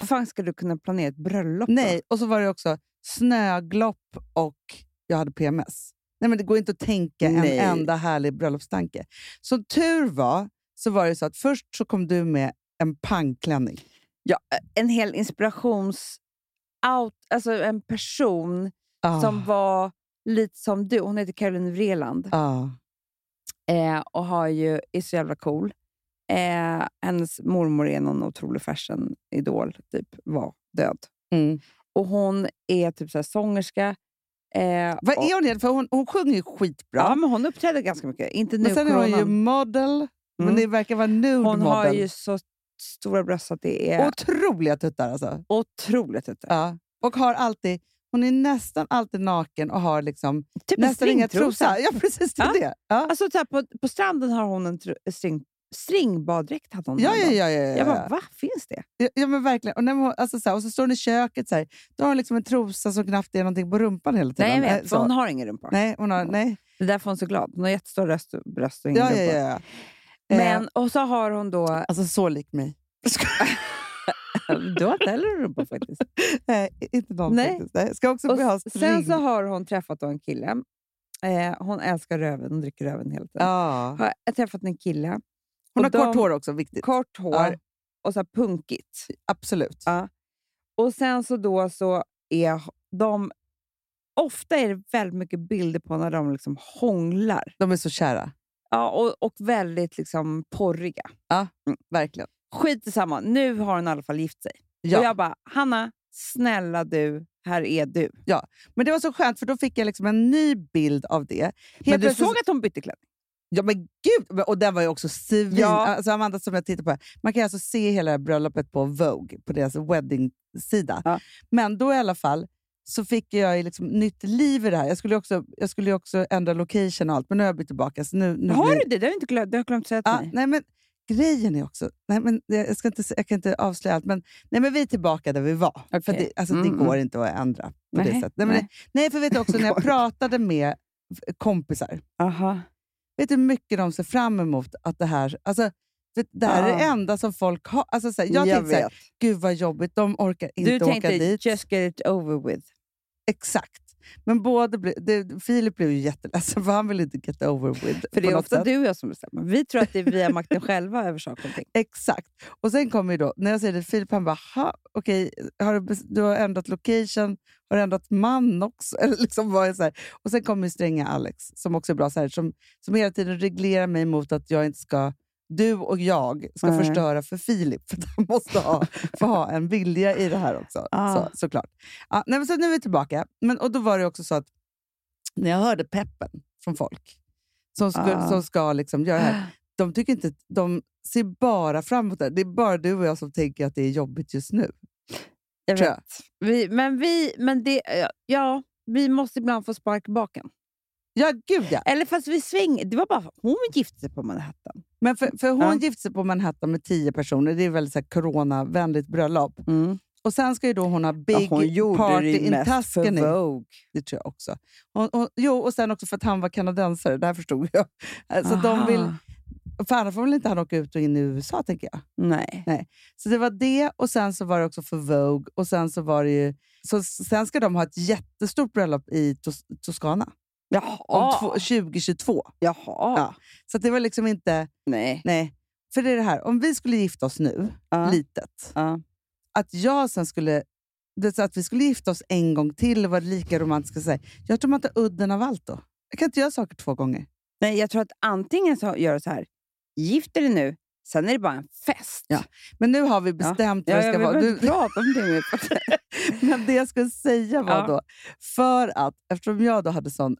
Speaker 4: Hur fan ska du kunna planera ett bröllop? då?
Speaker 3: Nej, och så var det också snöglopp och jag hade PMS. Nej, men Det går inte att tänka
Speaker 4: Nej.
Speaker 3: en enda härlig bröllopstanke. Som tur var så var det så att först så kom du med en pangklänning.
Speaker 4: eh, En hel inspirations... Out, alltså en person som var lite som du. Hon heter Caroline Vreeland.
Speaker 3: Ah.
Speaker 4: eh, och har ju, är så jävla cool. Eh, hennes mormor är någon otrolig fashion-idol, typ var död.
Speaker 3: Mm.
Speaker 4: Och hon är typ så här sångerska. Eh,
Speaker 3: Vad
Speaker 4: och,
Speaker 3: är hon egentligen? För hon, hon sjunger ju skitbra.
Speaker 4: Ja, men hon uppträder ganska mycket. Inte nu,
Speaker 3: men sen är hon ju
Speaker 4: coronan.
Speaker 3: model, men
Speaker 4: Mm.
Speaker 3: det verkar vara nude
Speaker 4: Hon har
Speaker 3: model.
Speaker 4: ju så stora bröst att det är
Speaker 3: Otroliga tuttar alltså.
Speaker 4: otroligt. Typ,
Speaker 3: Ja. Och har alltid, hon är nästan alltid naken och har liksom
Speaker 4: typ en
Speaker 3: nästan inga
Speaker 4: stringtrosa.
Speaker 3: trosa. Ja, precis. Det är
Speaker 4: Ja.
Speaker 3: det. Ja.
Speaker 4: Alltså, så här, på, på stranden har hon en tr- string, stringbaddräkt. hade Hon
Speaker 3: Ja, ja,
Speaker 4: häromdagen.
Speaker 3: ja, ja, ja,
Speaker 4: Jag bara,
Speaker 3: ja.
Speaker 4: va? Finns det?
Speaker 3: ja, ja men verkligen. Och, när hon, alltså, så här, och så står hon i köket så här. Då har hon liksom en trosa som knappt är någonting på rumpan hela tiden.
Speaker 4: Nej, jag vet.
Speaker 3: Eh,
Speaker 4: För
Speaker 3: så.
Speaker 4: hon har ingen rumpa.
Speaker 3: Nej, hon har... Nej.
Speaker 4: Det är därför hon är så glad. Hon har jättestor röst, bröst och ingen
Speaker 3: Ja, ja,
Speaker 4: rumpa.
Speaker 3: ja, ja. Eh,
Speaker 4: Men, och så har hon
Speaker 3: [LAUGHS]
Speaker 4: då...
Speaker 3: Alltså, så lik mig.
Speaker 4: Du har inte heller en rumpa [LAUGHS] faktiskt.
Speaker 3: Eh, inte någon
Speaker 4: Nej.
Speaker 3: faktiskt. Nej. Ska också
Speaker 4: Och
Speaker 3: bli ha
Speaker 4: s- sen
Speaker 3: string.
Speaker 4: så har hon träffat då en kille. Eh, hon älskar röven, hon dricker röven hela tiden.
Speaker 3: Ja.
Speaker 4: Har jag träffat en kille. Och
Speaker 3: Hon har
Speaker 4: de-
Speaker 3: kort hår också, viktigt.
Speaker 4: Kort hår
Speaker 3: Ja.
Speaker 4: och så här punkigt.
Speaker 3: Absolut.
Speaker 4: Ja. Och sen så då så är h- de... Ofta är det väldigt mycket bilder på när de liksom hånglar.
Speaker 3: De är så kära.
Speaker 4: Ja, och, och väldigt liksom porriga. Mm.
Speaker 3: Verkligen.
Speaker 4: Skit i samma, nu har hon i alla fall gift sig.
Speaker 3: Ja.
Speaker 4: Och jag bara, Hanna, snälla du, här är du.
Speaker 3: Men det var så skönt, för då fick jag liksom en ny bild av det. Helt
Speaker 4: Men du
Speaker 3: plötsligt-
Speaker 4: såg att hon bytte kläder?
Speaker 3: Ja, men gud! Men- Och den var ju också svin...
Speaker 4: Ja.
Speaker 3: Alltså Amanda, som jag tittar på här. Man kan alltså se hela det här bröllopet på Vogue, på deras wedding-sida.
Speaker 4: Ja.
Speaker 3: Men då i alla fall så fick jag ju liksom nytt liv i det här. Jag skulle ju också, jag skulle ju också ändra location och allt, men nu har jag bytt tillbaka. Så nu, nu Ah,
Speaker 4: Har
Speaker 3: blir...
Speaker 4: du det? Det har jag inte glömt, det har jag glömt säga till
Speaker 3: Ja,
Speaker 4: mig.
Speaker 3: nej, men grejen är också... Nej, men jag, jag ska inte, se- jag kan inte avslöja allt, men, nej, men vi är tillbaka där vi var. För
Speaker 4: Okej.
Speaker 3: det, alltså,
Speaker 4: Mm,
Speaker 3: det
Speaker 4: mm.
Speaker 3: går inte att ändra på det
Speaker 4: Nej,
Speaker 3: sättet. Nej, men
Speaker 4: nej.
Speaker 3: Det, nej, för vet du också,
Speaker 4: [LAUGHS]
Speaker 3: när jag
Speaker 4: Går.
Speaker 3: pratade med f- kompisar,
Speaker 4: Aha.
Speaker 3: vet du hur mycket de ser fram emot att det här... Alltså, vet, det här är det
Speaker 4: Ja.
Speaker 3: enda som folk har. Alltså, så här, jag, tänkte så här, gud vad jobbigt, de orkar inte
Speaker 4: Du
Speaker 3: åka
Speaker 4: tänkte
Speaker 3: dit.
Speaker 4: just get it over with.
Speaker 3: Exakt. Men både ble, det, Filip blev ju jätteledsen för han vill inte get over with.
Speaker 4: För det
Speaker 3: på
Speaker 4: är
Speaker 3: något
Speaker 4: ofta
Speaker 3: sätt.
Speaker 4: du och jag som bestämmer. Vi tror att det är vi har
Speaker 3: [LAUGHS]
Speaker 4: makten själva över saker och ting.
Speaker 3: Exakt. Och sen kommer ju då, när jag säger det till Filip, han bara, "Ha, okej, har du, bes- du har ändrat location, har du ändrat man också? [LAUGHS] Eller liksom var jag så här. Och sen kommer ju stränga Alex, som också är bra, så här, som, som hela tiden reglerar mig mot att jag inte ska, du och jag ska
Speaker 4: Nej.
Speaker 3: förstöra för Filip, för att han måste ha, få ha en vilja i det här också.
Speaker 4: Ah.
Speaker 3: Så, såklart. Ja, nej, men så nu är vi tillbaka. Men, och då var det också så att när jag hörde peppen från folk, som, skulle,
Speaker 4: Ah.
Speaker 3: som ska liksom göra det här, de, tycker inte, de ser bara framåt. Där. Det är bara du och jag som tänker att det är jobbigt just nu.
Speaker 4: Jag
Speaker 3: Tror jag.
Speaker 4: vet. Vi, men vi, men det, ja, vi måste ibland få spark i baken.
Speaker 3: Ja, gud ja.
Speaker 4: Eller fast vi svänger. Det var bara hon gifte sig på Manhattan.
Speaker 3: Men för, för hon
Speaker 4: Ja.
Speaker 3: gifte sig på Manhattan med tio personer. Det är väldigt så här coronavänligt bröllop. Och sen ska ju då hon ha big party in Tuscany.
Speaker 4: Vogue.
Speaker 3: Det tror jag också. Hon, hon, jo, och sen också för att han var kanadensare. Det här förstod jag. Så de vill, för annars får väl inte han åka ut och in i USA, tänker jag.
Speaker 4: Nej.
Speaker 3: Så det var det och sen så var det också för Vogue. Och sen så var det ju... Så sen ska de ha ett jättestort bröllop i Tos, Toscana
Speaker 4: Jaha.
Speaker 3: om två, 2022.
Speaker 4: Jaha.
Speaker 3: Ja. Så att det var liksom inte...
Speaker 4: Nej.
Speaker 3: Nej. För det är det här, om vi skulle gifta oss nu,
Speaker 4: Ja.
Speaker 3: litet,
Speaker 4: Ja.
Speaker 3: att jag sen skulle... Det är så att vi skulle gifta oss en gång till och vara lika romantiska. Så här. Jag tror man tar udden av allt då. Jag kan inte göra saker två gånger.
Speaker 4: Nej, jag tror att antingen så gör det så här. Gift dig nu, sen är det bara en fest.
Speaker 3: Ja. Men nu har vi bestämt
Speaker 4: Ja,
Speaker 3: vad det
Speaker 4: jag
Speaker 3: ska vara.
Speaker 4: behöver
Speaker 3: Nu,
Speaker 4: inte prata om det mer.
Speaker 3: [LAUGHS] Men det jag skulle säga var
Speaker 4: Ja.
Speaker 3: då, för att eftersom jag då hade sån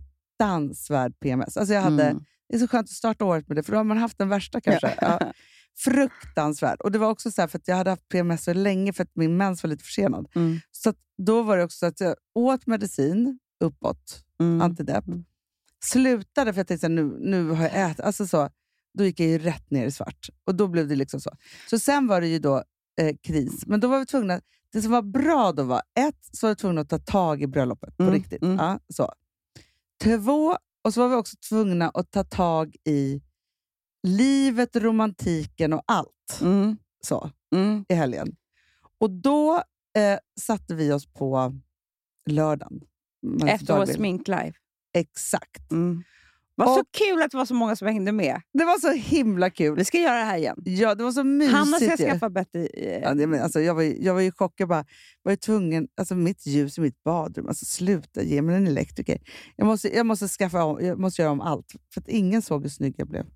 Speaker 3: fruktansvärd PMS. Alltså jag hade,
Speaker 4: Mm.
Speaker 3: Det är så skönt att starta året med det, för då har man haft den värsta kanske. Ja.
Speaker 4: [LAUGHS]
Speaker 3: Fruktansvärd. Och det var också så här, för att jag hade haft PMS så länge för att min mens var lite försenad.
Speaker 4: Mm.
Speaker 3: mm.
Speaker 4: Mm.
Speaker 3: Så att då var det också så att jag åt medicin uppåt, antidepp. slutade för jag tänkte så här, nu, nu har jag ätit. Alltså så, då gick jag ju rätt ner i svart. Och då blev det liksom så. Så sen var det ju då eh, kris. Men då var vi tvungna, det som var bra då var, ett, så var vi tvungna att ta tag i bröllopet på
Speaker 4: Mm,
Speaker 3: riktigt.
Speaker 4: mm.
Speaker 3: Ja, så. Två, och så var vi också tvungna att ta tag i livet, romantiken och allt
Speaker 4: Mm.
Speaker 3: så
Speaker 4: Mm.
Speaker 3: i helgen. Och då eh, satte vi oss på lördagen. Men
Speaker 4: Ett
Speaker 3: dag
Speaker 4: år
Speaker 3: vill-
Speaker 4: sminklive.
Speaker 3: Exakt.
Speaker 4: Mm. Vad så
Speaker 3: Och-
Speaker 4: kul att det var så många som hängde med.
Speaker 3: Det var så himla kul.
Speaker 4: Vi ska göra det här igen.
Speaker 3: Ja, det var så
Speaker 4: Hanna ska
Speaker 3: mysigt. ju.
Speaker 4: skaffa bättre... eh,
Speaker 3: Ja, det, men alltså, jag, var, ju- jag var ju chockad. Bara, var ju tvungen, alltså, mitt ljus i mitt badrum. Alltså, sluta, ge mig en elektriker. Jag måste, jag, måste skaffa om, jag måste göra om allt. För att ingen såg hur snygg jag blev.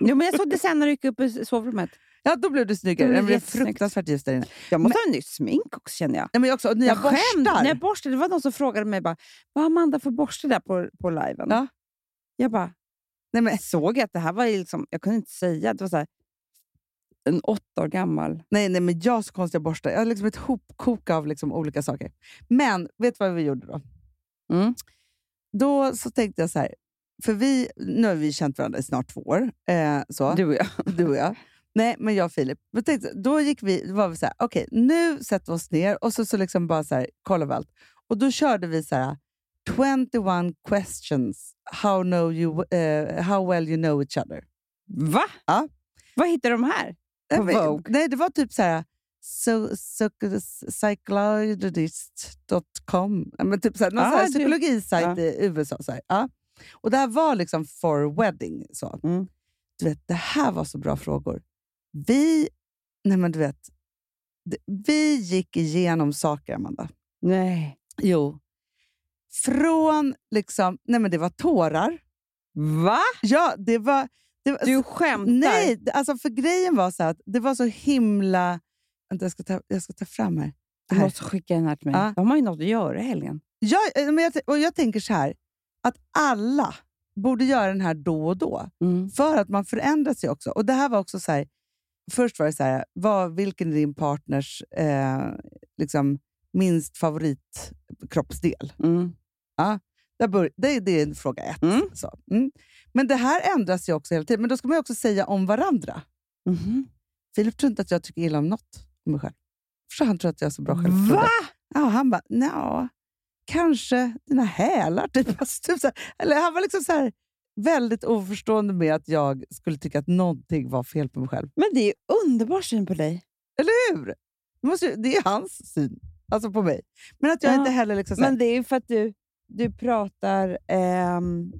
Speaker 4: Jo, men jag såg det sen när du gick upp i sovrummet.
Speaker 3: Ja, då blev du snyggare.
Speaker 4: Det
Speaker 3: Det
Speaker 4: blev
Speaker 3: blev, blev
Speaker 4: jättesnyggt.
Speaker 3: fruktansvärt ljus där inne.
Speaker 4: Jag måste ha en ny smink också känner jag.
Speaker 3: Nej, men jag också, och nya
Speaker 4: jag skämde.
Speaker 3: borstar.
Speaker 4: När jag borstade, det var någon som frågade mig bara, vad har Amanda för borste där på, på liven.
Speaker 3: Ja.
Speaker 4: Jag bara,
Speaker 3: Nej, men,
Speaker 4: jag såg att det här var ju liksom, jag kunde inte säga. Det var så här, en åtta år gammal.
Speaker 3: Nej, nej, men jag har så konstiga borstar. Jag har liksom ett hopkok av liksom olika saker. Men vet du vad vi gjorde då?
Speaker 4: Mm.
Speaker 3: Då så tänkte jag så här, för vi, nu har vi känt varandra i snart två år. Eh, så,
Speaker 4: Du och jag.
Speaker 3: du och jag. Nej, men jag och Filip. Men tänkte, då gick vi, då var vi så här, okej, nu sätter vi oss ner och så, så liksom bara så här, kollar vi allt. Och då körde vi så här, 21 questions, how, know you, eh, how well you know each other.
Speaker 4: Va?
Speaker 3: Ja.
Speaker 4: Vad hittar de här?
Speaker 3: Nej,
Speaker 4: På
Speaker 3: men-
Speaker 4: Vogue?
Speaker 3: Nej, det var typ så här... So, so, psychologist.com. Ja, men typ så här, någon
Speaker 4: Ah,
Speaker 3: så här
Speaker 4: du-
Speaker 3: psykologisajt i USA. Så här. Ja. Och det här var liksom for wedding. Så.
Speaker 4: Mm.
Speaker 3: Du vet, det här var så bra frågor. Vi, nej men du vet, det, vi gick igenom saker, Amanda.
Speaker 4: Nej.
Speaker 3: Jo. Från liksom, nej men det var tårar.
Speaker 4: Va?
Speaker 3: Ja, det var... Det var
Speaker 4: Du skämtar?
Speaker 3: Nej, det- alltså för grejen var så här att det var så himla... Vänta, jag ska ta, jag ska ta fram här.
Speaker 4: Du
Speaker 3: här.
Speaker 4: måste skicka den här till mig.
Speaker 3: Ja.
Speaker 4: De har ju något att göra i helgen.
Speaker 3: Jag, eh, men jag, t- och jag tänker så här, att alla borde göra den här då och då.
Speaker 4: Mm.
Speaker 3: För att man förändras sig också. Och det här var också så här, först var det så här, vad, vilken är din partners eh, liksom, minst favoritkroppsdel?
Speaker 4: Mm.
Speaker 3: Där bör, det, det är fråga ett.
Speaker 4: Mm.
Speaker 3: Så. Mm. Men det här ändras ju också hela tiden. Men då ska man ju också säga om varandra.
Speaker 4: Mhm.
Speaker 3: Filip tror inte att jag tycker illa om något om mig själv. Förstår han tror att jag är så bra självförtroende.
Speaker 4: Va?
Speaker 3: Ja, han bara, nja, kanske dina hälar. Typ. [LAUGHS] Alltså, typ så här. Eller han var liksom så här, väldigt oförstående med att jag skulle tycka att någonting var fel på mig själv.
Speaker 4: Men det är ju underbar syn på dig.
Speaker 3: Eller hur? Det, måste, ju- det är hans syn alltså på mig. Men att jag
Speaker 4: Ja,
Speaker 3: inte heller... Liksom, så här,
Speaker 4: Men det är ju för att du, du pratar ehm,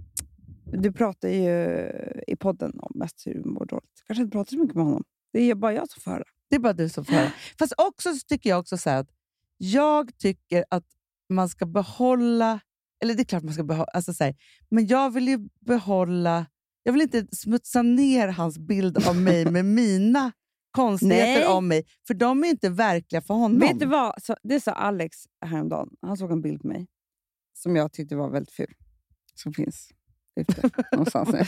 Speaker 4: Du pratar ju i podden om mest hur du mår dåligt. Du kanske inte pratar så mycket med honom. Det är ju bara jag som får höra.
Speaker 3: Det är bara du som
Speaker 4: [GASPS]
Speaker 3: får höra. Fast också så tycker jag också så här att jag tycker att man ska behålla, eller det är klart man ska behålla, alltså så här, men jag vill ju behålla, jag vill inte smutsa ner hans bild
Speaker 4: [LAUGHS]
Speaker 3: av mig med mina
Speaker 4: Nej.
Speaker 3: konstigheter om mig, för de är inte verkliga för honom.
Speaker 4: Vet du vad? Så, det sa Alex häromdagen. Han såg en bild på mig som jag tyckte var väldigt ful. Som finns ute [LAUGHS] någonstans. nu.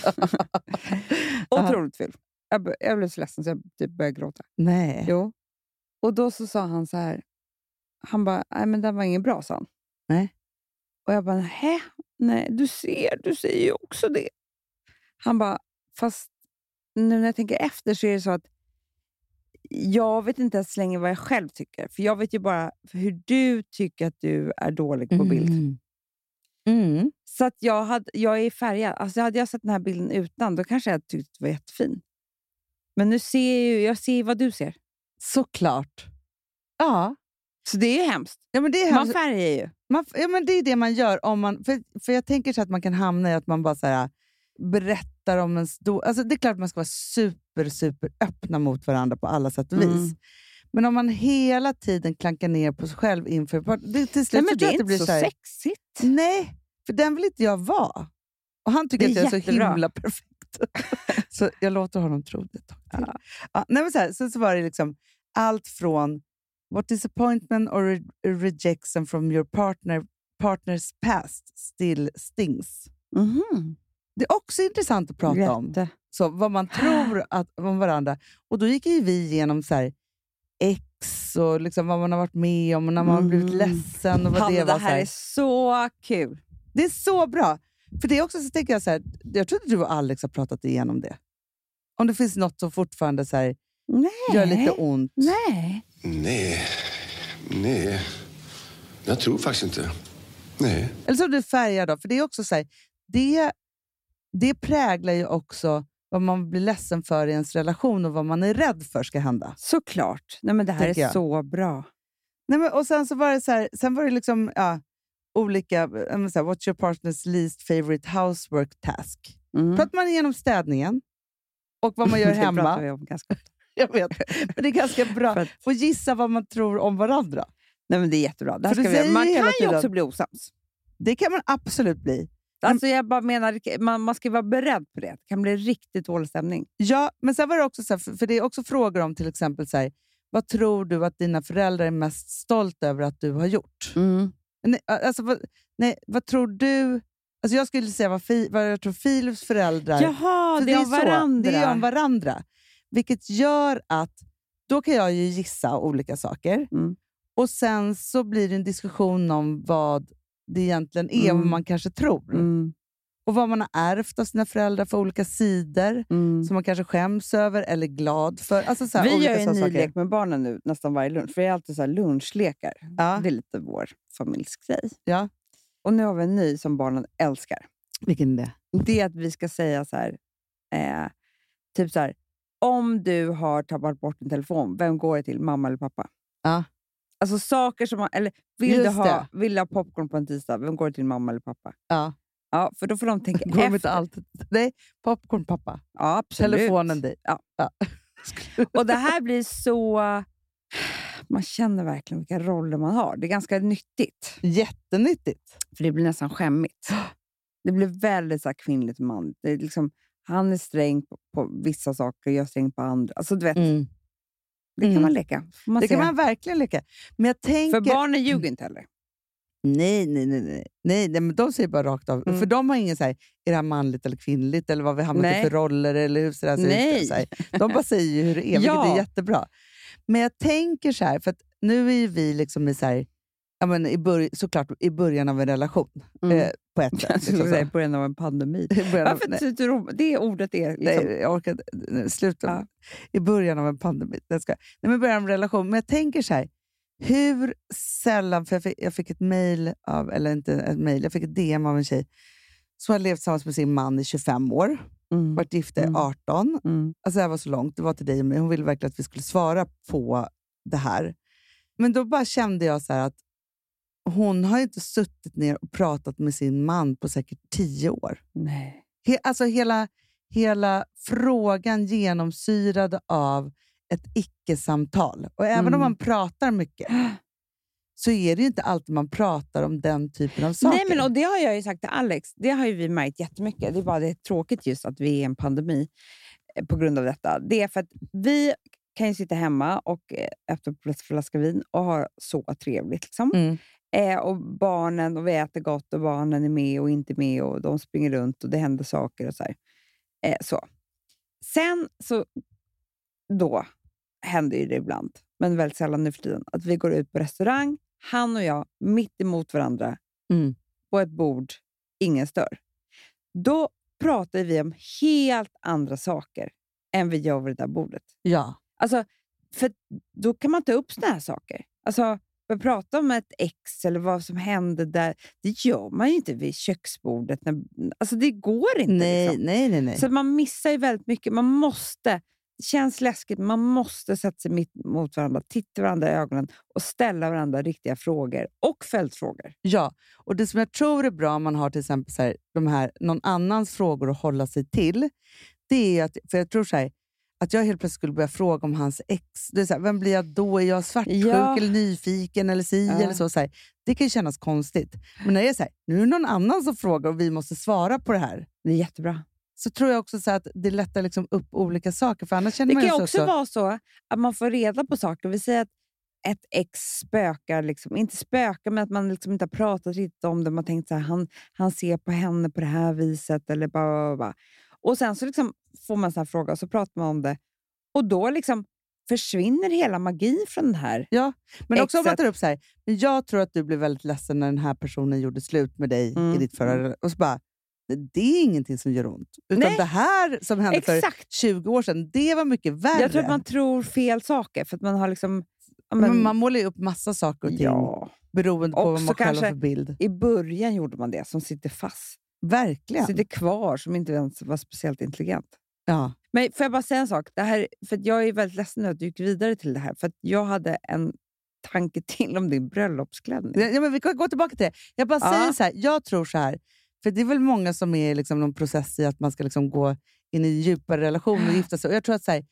Speaker 4: Otroligt ful. Jag, bör- jag blev så ledsen så jag typ började gråta.
Speaker 3: Nej.
Speaker 4: Jo. Och då så sa han så här. Han bara, nej men den var ingen bra, sa han.
Speaker 3: Nej.
Speaker 4: Och jag bara, hä? Nej, du ser, du säger ju också det. Han bara, fast nu när jag tänker efter så är det så att jag vet inte ens längre vad jag själv tycker. För jag vet ju bara hur du tycker att du är dålig på bild.
Speaker 3: Mm. Mm.
Speaker 4: Så att jag, hade, jag är färgad. Alltså hade jag sett den här bilden utan, då kanske jag tyckte att det var jättefin. Men nu ser jag ju, jag ser vad du ser.
Speaker 3: Såklart. Ja.
Speaker 4: Så det är ju hemskt.
Speaker 3: Ja, men det är
Speaker 4: Man
Speaker 3: hemskt.
Speaker 4: färgar ju.
Speaker 3: Man, ja, men det är det man gör. om man, för, för Jag tänker så att man kan hamna i att man bara så här, äh, berättar om en stor... Alltså det är klart att man ska vara super, super öppna mot varandra på alla sätt och vis.
Speaker 4: Mm.
Speaker 3: Men om man hela tiden klankar ner på sig själv inför... part- Det, till
Speaker 4: Nej,
Speaker 3: slut
Speaker 4: men
Speaker 3: så tror
Speaker 4: det
Speaker 3: jag
Speaker 4: är
Speaker 3: att
Speaker 4: inte
Speaker 3: blir
Speaker 4: så,
Speaker 3: här-
Speaker 4: sexigt.
Speaker 3: Nej, för den vill inte jag vara. Och han tycker
Speaker 4: Det är
Speaker 3: att jag är
Speaker 4: jättebra.
Speaker 3: så himla
Speaker 4: [LAUGHS]
Speaker 3: perfekt. så jag låter honom tro det ett tag till. Ja, nej, men så här, sen så var det liksom allt från What disappointment or re rejection from your partner, partner's past still stings.
Speaker 4: Mm-hmm,
Speaker 3: Det är också intressant att prata om.
Speaker 4: Jätte.
Speaker 3: Så vad man
Speaker 4: [GASPS]
Speaker 3: tror att, om varandra. Och då gick ju vi igenom så här, ex och liksom vad man har varit med om och när man har blivit
Speaker 4: Mm.
Speaker 3: ledsen. Och vad
Speaker 4: Hanna,
Speaker 3: det,
Speaker 4: det,
Speaker 3: var, så
Speaker 4: här är så kul.
Speaker 3: det är så bra. För det är också så tänker jag så här, jag tror att du och Alex har pratat igenom det. Om det finns något som fortfarande så här,
Speaker 4: Nej.
Speaker 3: gör lite ont.
Speaker 4: Nej.
Speaker 6: Nej, nej. Jag tror faktiskt inte. Nej.
Speaker 3: Eller som du färgar då, för det är också så här, det, det präglar ju också vad man blir ledsen för i ens relation och vad man är rädd för ska hända.
Speaker 4: Såklart. Nej, men det här
Speaker 3: Tänker
Speaker 4: är
Speaker 3: jag.
Speaker 4: så bra.
Speaker 3: Nej, men, och sen så var det så här, sen var det liksom ja, olika, ja, men så här, what's your partners least favorite housework task?
Speaker 4: Mm.
Speaker 3: Pratar man igenom städningen och vad man gör
Speaker 4: [LAUGHS] Det pratar
Speaker 3: hemma.
Speaker 4: vi om ganska ofta.
Speaker 3: [LAUGHS] Jag vet, men det är ganska bra.
Speaker 4: För att-
Speaker 3: Få gissa vad man tror om varandra.
Speaker 4: Nej, men det är jättebra. Det här
Speaker 3: För
Speaker 4: ska vi
Speaker 3: du
Speaker 4: göra.
Speaker 3: säger
Speaker 4: man
Speaker 3: ju hela
Speaker 4: kan ju
Speaker 3: tiden-
Speaker 4: också bli osams.
Speaker 3: Det kan man absolut bli.
Speaker 4: Alltså jag bara menar, man, man ska vara beredd på det. Det kan bli riktigt dålig stämning.
Speaker 3: Ja, men sen var det också så här, för för det är också frågor om till exempel så här, vad tror du att dina föräldrar är mest stolta över att du har gjort?
Speaker 4: Mm.
Speaker 3: Nej, alltså, vad, nej, vad tror du? Alltså, jag skulle säga vad, fi, vad jag tror Filips föräldrar...
Speaker 4: Jaha,
Speaker 3: För
Speaker 4: det är om
Speaker 3: så,
Speaker 4: varandra.
Speaker 3: Det är om varandra. Vilket gör att då kan jag ju gissa olika saker.
Speaker 4: Mm.
Speaker 3: Och sen så blir det en diskussion om vad det egentligen är och
Speaker 4: Mm.
Speaker 3: vad man kanske tror.
Speaker 4: Mm,
Speaker 3: Och vad man har ärvt av sina föräldrar för olika sidor
Speaker 4: mm.
Speaker 3: som man kanske skäms över eller är glad för. Alltså så här,
Speaker 4: Vi
Speaker 3: olika
Speaker 4: gör ju en
Speaker 3: sådana
Speaker 4: ny
Speaker 3: saker.
Speaker 4: lek med barnen nu nästan varje lunch. För det är alltid så här lunchlekar.
Speaker 3: Ja.
Speaker 4: Det är lite vår familjsgrej.
Speaker 3: Ja.
Speaker 4: Och nu har vi en ny som barnen älskar.
Speaker 3: Vilken det?
Speaker 4: Det är att vi ska säga så här, eh, typ så här, om du har tappat bort din telefon, vem går det till? Mamma eller pappa?
Speaker 3: Ja.
Speaker 4: Alltså saker som man, eller vill du,
Speaker 3: Just
Speaker 4: ha, vill du ha popcorn på en tisdag, vem går det till? Mamma eller pappa?
Speaker 3: Ja.
Speaker 4: Ja, för då får de tänka
Speaker 3: [LAUGHS] Går de
Speaker 4: efter.
Speaker 3: inte alltid? Nej, popcorn pappa.
Speaker 4: Ja, absolut.
Speaker 3: Telefonen dig.
Speaker 4: Ja.
Speaker 3: Ja.
Speaker 4: Och det här blir så... Man känner verkligen vilka roller man har. Det är ganska nyttigt.
Speaker 3: Jättenyttigt.
Speaker 4: För det blir nästan skämmigt. Det blir väldigt så här kvinnligt och manligt. Det är liksom, han är sträng på, på vissa saker, jag är sträng på andra. Alltså, du vet, Det kan
Speaker 3: Mm.
Speaker 4: man leka. Får Man
Speaker 3: Det kan
Speaker 4: se.
Speaker 3: man verkligen leka. Men jag tänker...
Speaker 4: För barnen ljuger inte heller.
Speaker 3: Nej, nej, nej. nej. nej, nej men de säger bara rakt av.
Speaker 4: Mm.
Speaker 3: För de har ingen så här, är det här manligt eller kvinnligt eller vad vi hamnat i
Speaker 4: Nej.
Speaker 3: för roller eller hur ser det här ser ut, eller
Speaker 4: Nej.
Speaker 3: Så här. De bara säger ju hur det är, vilket
Speaker 4: Ja.
Speaker 3: är jättebra. Men jag tänker så här, för att nu är ju vi liksom i så här, ja, men i bör- såklart i början av en relation.
Speaker 4: Mm.
Speaker 3: Eh, på ett
Speaker 4: [LAUGHS]
Speaker 3: sätt.
Speaker 4: Jag
Speaker 3: Liksom,
Speaker 4: skulle
Speaker 3: så.
Speaker 4: säga i början av en pandemi.
Speaker 3: I början av,
Speaker 4: Varför
Speaker 3: nej,
Speaker 4: tycker du typ, det ordet är liksom...
Speaker 3: nej, jag orkar inte. Nej, Sluta.
Speaker 4: Ja.
Speaker 3: I början av en pandemi. Jag ska, nej, men i början av en relation. Men jag tänker så här, hur sällan, för jag fick, jag fick ett mejl av, eller inte ett mejl, jag fick ett DM av en tjej som har levt tillsammans med sin man i 25 år,
Speaker 4: Mm.
Speaker 3: varit gifta i
Speaker 4: Mm.
Speaker 3: 18.
Speaker 4: Mm.
Speaker 3: Alltså det här var så långt, det var till dig och mig. Hon ville verkligen att vi skulle svara på det här. Men då bara kände jag så här att hon har ju inte suttit ner och pratat med sin man på säkert 10 år.
Speaker 4: Nej.
Speaker 3: He, alltså hela, hela frågan genomsyrad av ett icke-samtal. Och även om
Speaker 4: Mm.
Speaker 3: man pratar mycket så är det ju inte alltid man pratar om den typen av saker.
Speaker 4: Nej, men och det har jag ju sagt till Alex. Det har ju vi märkt jättemycket. Det är bara det är tråkigt just att vi är i en pandemi eh, på grund av detta. Det är för att vi kan ju sitta hemma och eh, öppna en flaska vin och ha så trevligt. Liksom.
Speaker 3: Mm.
Speaker 4: Eh, och barnen, och vi äter gott och barnen är med och inte med och de springer runt och det händer saker och så här. Eh, så. Sen så, då händer ju det ibland, men väldigt sällan nu för tiden, att vi går ut på restaurang, han och jag, mitt emot varandra,
Speaker 3: Mm.
Speaker 4: på ett bord, ingen stör. Då pratar vi om helt andra saker än vi gör vid det där bordet.
Speaker 3: ja.
Speaker 4: Alltså, för då kan man ta upp såna här saker. Alltså, man pratar om ett ex eller vad som hände där. Det gör man ju inte vid köksbordet. När, alltså, det går inte.
Speaker 3: nej,
Speaker 4: liksom.
Speaker 3: nej, nej, nej.
Speaker 4: Så man missar ju väldigt mycket. Man måste, det känns läskigt, men man måste sätta sig mitt mot varandra, titta varandra i ögonen och ställa varandra riktiga frågor och följdfrågor.
Speaker 3: Ja, och det som jag tror är bra om man har till exempel så här, de här, någon annans frågor att hålla sig till, det är att, för jag tror så här, att jag helt plötsligt skulle börja fråga om hans ex. Det är så här, vem blir jag då? Är jag svartsjuk
Speaker 4: Ja.
Speaker 3: eller nyfiken eller si
Speaker 4: Ja.
Speaker 3: eller så? så här, det kan ju kännas konstigt. Men när det är så här, nu är det någon annan som frågar och vi måste svara på det här,
Speaker 4: Det är jättebra.
Speaker 3: så tror jag också så här att det lättar liksom upp olika saker. För annars känner
Speaker 4: Det
Speaker 3: man
Speaker 4: kan
Speaker 3: ju
Speaker 4: ju
Speaker 3: så
Speaker 4: också,
Speaker 3: också-
Speaker 4: vara så att man får reda på saker. Vi säger att ett ex spökar, liksom. inte spökar, men att man liksom inte har pratat riktigt om det. Man har tänkt så här, han, han ser på henne på det här viset. Eller bara, bara, bara. Och sen så liksom får man en sån här fråga och så pratar man om det. Och då liksom försvinner hela magin från den här.
Speaker 3: Men också om man
Speaker 4: Exakt.
Speaker 3: tar upp så här, men jag tror att du blev väldigt ledsen när den här personen gjorde slut med dig
Speaker 4: Mm.
Speaker 3: i ditt förra... Och så bara, Det, det är ingenting som gör ont. Utan
Speaker 4: Nej.
Speaker 3: det här som hände
Speaker 4: Exakt.
Speaker 3: för 20 år sedan, det var mycket värre.
Speaker 4: Jag tror att man tror fel saker för att man har liksom... ja,
Speaker 3: men, man målar ju upp massa saker och ting
Speaker 4: ja.
Speaker 3: beroende på vad
Speaker 4: Också
Speaker 3: man kallar
Speaker 4: kanske-
Speaker 3: för bild.
Speaker 4: I början gjorde man det som sitter fast.
Speaker 3: Verkligen.
Speaker 4: Sitter kvar som inte ens var speciellt intelligent.
Speaker 3: Ja.
Speaker 4: Men får jag bara säga en sak? Det här, för att jag är väldigt ledsen nu att du gick vidare till det här. För att jag hade en tanke [LAUGHS] till om din bröllopsklänning.
Speaker 3: Ja, men vi kan gå tillbaka till det. Jag bara
Speaker 4: Ja.
Speaker 3: säger så här, jag tror så här, för det är väl många som är i liksom någon process i att man ska liksom gå in i en djupare relation och gifta sig. Och jag, tror att så här,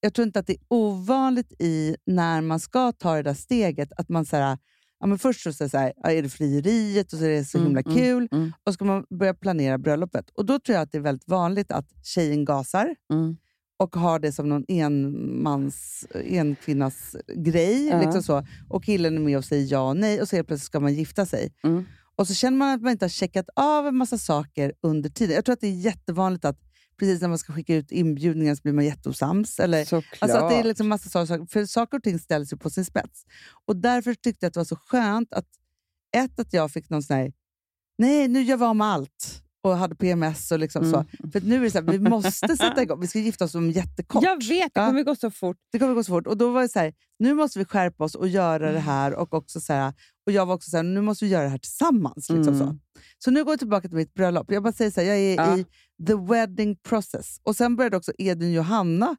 Speaker 3: jag tror inte att det är ovanligt i när man ska ta det där steget att man så här, ja, men först så säger så här, ja, är det frieriet och så är det så
Speaker 4: Mm,
Speaker 3: himla
Speaker 4: mm,
Speaker 3: kul.
Speaker 4: mm.
Speaker 3: Och ska man börja planera bröllopet. Och då tror jag att det är väldigt vanligt att tjejen gasar
Speaker 4: Mm.
Speaker 3: och har det som någon enmans, enkvinnas grej.
Speaker 4: Ja.
Speaker 3: Liksom så. Och killen är med och säger ja och nej och så helt plötsligt ska man gifta sig.
Speaker 4: Mm.
Speaker 3: Och så känner man att man inte har checkat av en massa saker under tiden. Jag tror att det är jättevanligt att precis när man ska skicka ut inbjudningar så blir man jätteosams. Eller,
Speaker 4: Såklart.
Speaker 3: Alltså att det är liksom massa saker, för saker och ting ställs ju på sin spets. Och därför tyckte jag att det var så skönt att, ett, att jag fick någon sån här, nej nu gör vi om allt. Och hade PMS och liksom så.
Speaker 4: Mm.
Speaker 3: För att nu är det så här, vi
Speaker 4: [LAUGHS]
Speaker 3: måste sätta igång. Vi ska gifta oss om jättekort.
Speaker 4: Jag vet, det
Speaker 3: Ja.
Speaker 4: kommer gå så fort.
Speaker 3: Det kommer gå så fort. Och då var det så här, nu måste vi skärpa oss och göra
Speaker 4: Mm.
Speaker 3: det här. Och, också så här, och jag var också så här, nu måste vi göra det här tillsammans. Liksom så.
Speaker 4: Mm.
Speaker 3: så nu går jag tillbaka till mitt bröllop. Jag bara säger så här, jag är
Speaker 4: Ja.
Speaker 3: i the wedding process. Och sen började också Edvin Johanna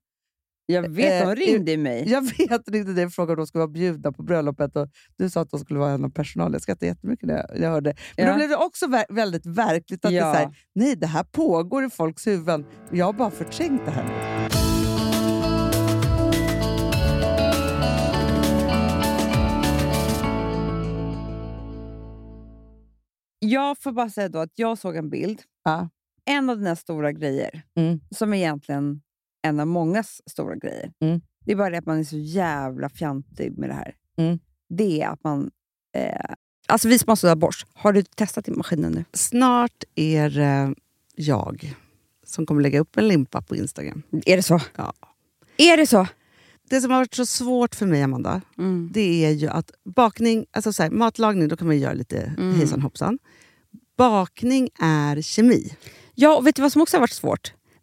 Speaker 4: Jag vet,
Speaker 3: Eh,
Speaker 4: de ringde ju mig.
Speaker 3: [LAUGHS] jag vet inte det frågade om de skulle vara bjudna på bröllopet och du sa att de skulle vara en av personalen. Jag skrattade jättemycket när jag, jag hörde det. Men då
Speaker 4: Ja.
Speaker 3: blev det också ver- väldigt verkligt att det är
Speaker 4: Ja.
Speaker 3: så här, nej det här pågår i folks huvuden. Jag har bara förträngt det här.
Speaker 4: Jag får bara säga då att jag såg en bild.
Speaker 3: Ja.
Speaker 4: En av dina stora grejer,
Speaker 3: Mm.
Speaker 4: som egentligen en av mångas stora grejer.
Speaker 3: Mm.
Speaker 4: Det är bara det att man är så jävla fjantig med det här.
Speaker 3: Mm.
Speaker 4: Det är att man... Eh, alltså vi som har sådär borst, har du testat i maskinen nu?
Speaker 3: Snart är eh, jag som kommer lägga upp en limpa på Instagram.
Speaker 4: Är det så?
Speaker 3: Ja.
Speaker 4: Är det så?
Speaker 3: Det som har varit så svårt för mig, Amanda, det är ju att bakning, alltså så här, matlagning, då kan man ju göra lite hejsan hoppsan. Bakning är kemi.
Speaker 4: Ja, och vet du vad som också har varit svårt?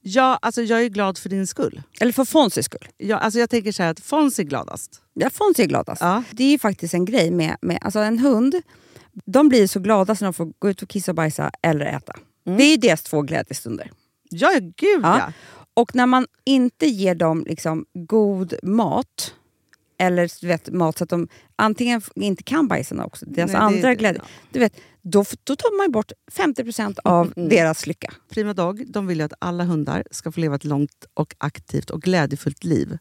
Speaker 7: Ja, alltså jag är glad för din skull.
Speaker 4: Eller för Fonzys skull.
Speaker 7: Ja, alltså jag tänker så här att Fons är gladast.
Speaker 4: Ja, Fonzie är gladast.
Speaker 7: Ja.
Speaker 4: alltså. Det är ju faktiskt en grej med, med alltså en hund. De blir så glada när de får gå ut och kissa och bajsa eller äta. Det är ju deras två glädjestunder.
Speaker 7: Ja, gud
Speaker 4: Ja.
Speaker 7: Mm. ja.
Speaker 4: Och när man inte ger dem liksom god mat, eller du vet, mat så att de antingen f- inte kan bajsarna också, deras
Speaker 7: Nej, det-
Speaker 4: andra
Speaker 7: det-
Speaker 4: glädje, du vet, då, f- då tar man ju bort 50% av
Speaker 7: Mm.
Speaker 4: deras lycka.
Speaker 7: Prima Dog de vill ju att alla hundar ska få leva ett långt, och aktivt och glädjefullt liv.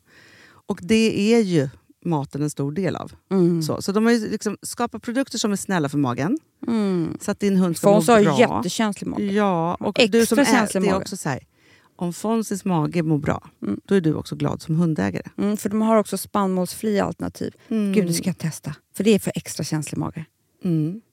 Speaker 7: Och det är ju maten en stor del av.
Speaker 4: Mm.
Speaker 7: Så, så de har ju liksom skapat produkter som är snälla för magen, Mm. så att din hund ska må
Speaker 4: Fons har ju
Speaker 7: bra.
Speaker 4: jättekänslig mage.
Speaker 7: Ja, och
Speaker 4: Extra
Speaker 7: du som är,
Speaker 4: känslig
Speaker 7: det är
Speaker 4: mage.
Speaker 7: också så här, om Fonzys mage mår bra, då är du också glad som hundägare.
Speaker 4: Mm, för de har också spannmålsfria alternativ. Gud, det
Speaker 7: Mm.
Speaker 4: ska jag testa. För det är för extra känslig mage. Mm.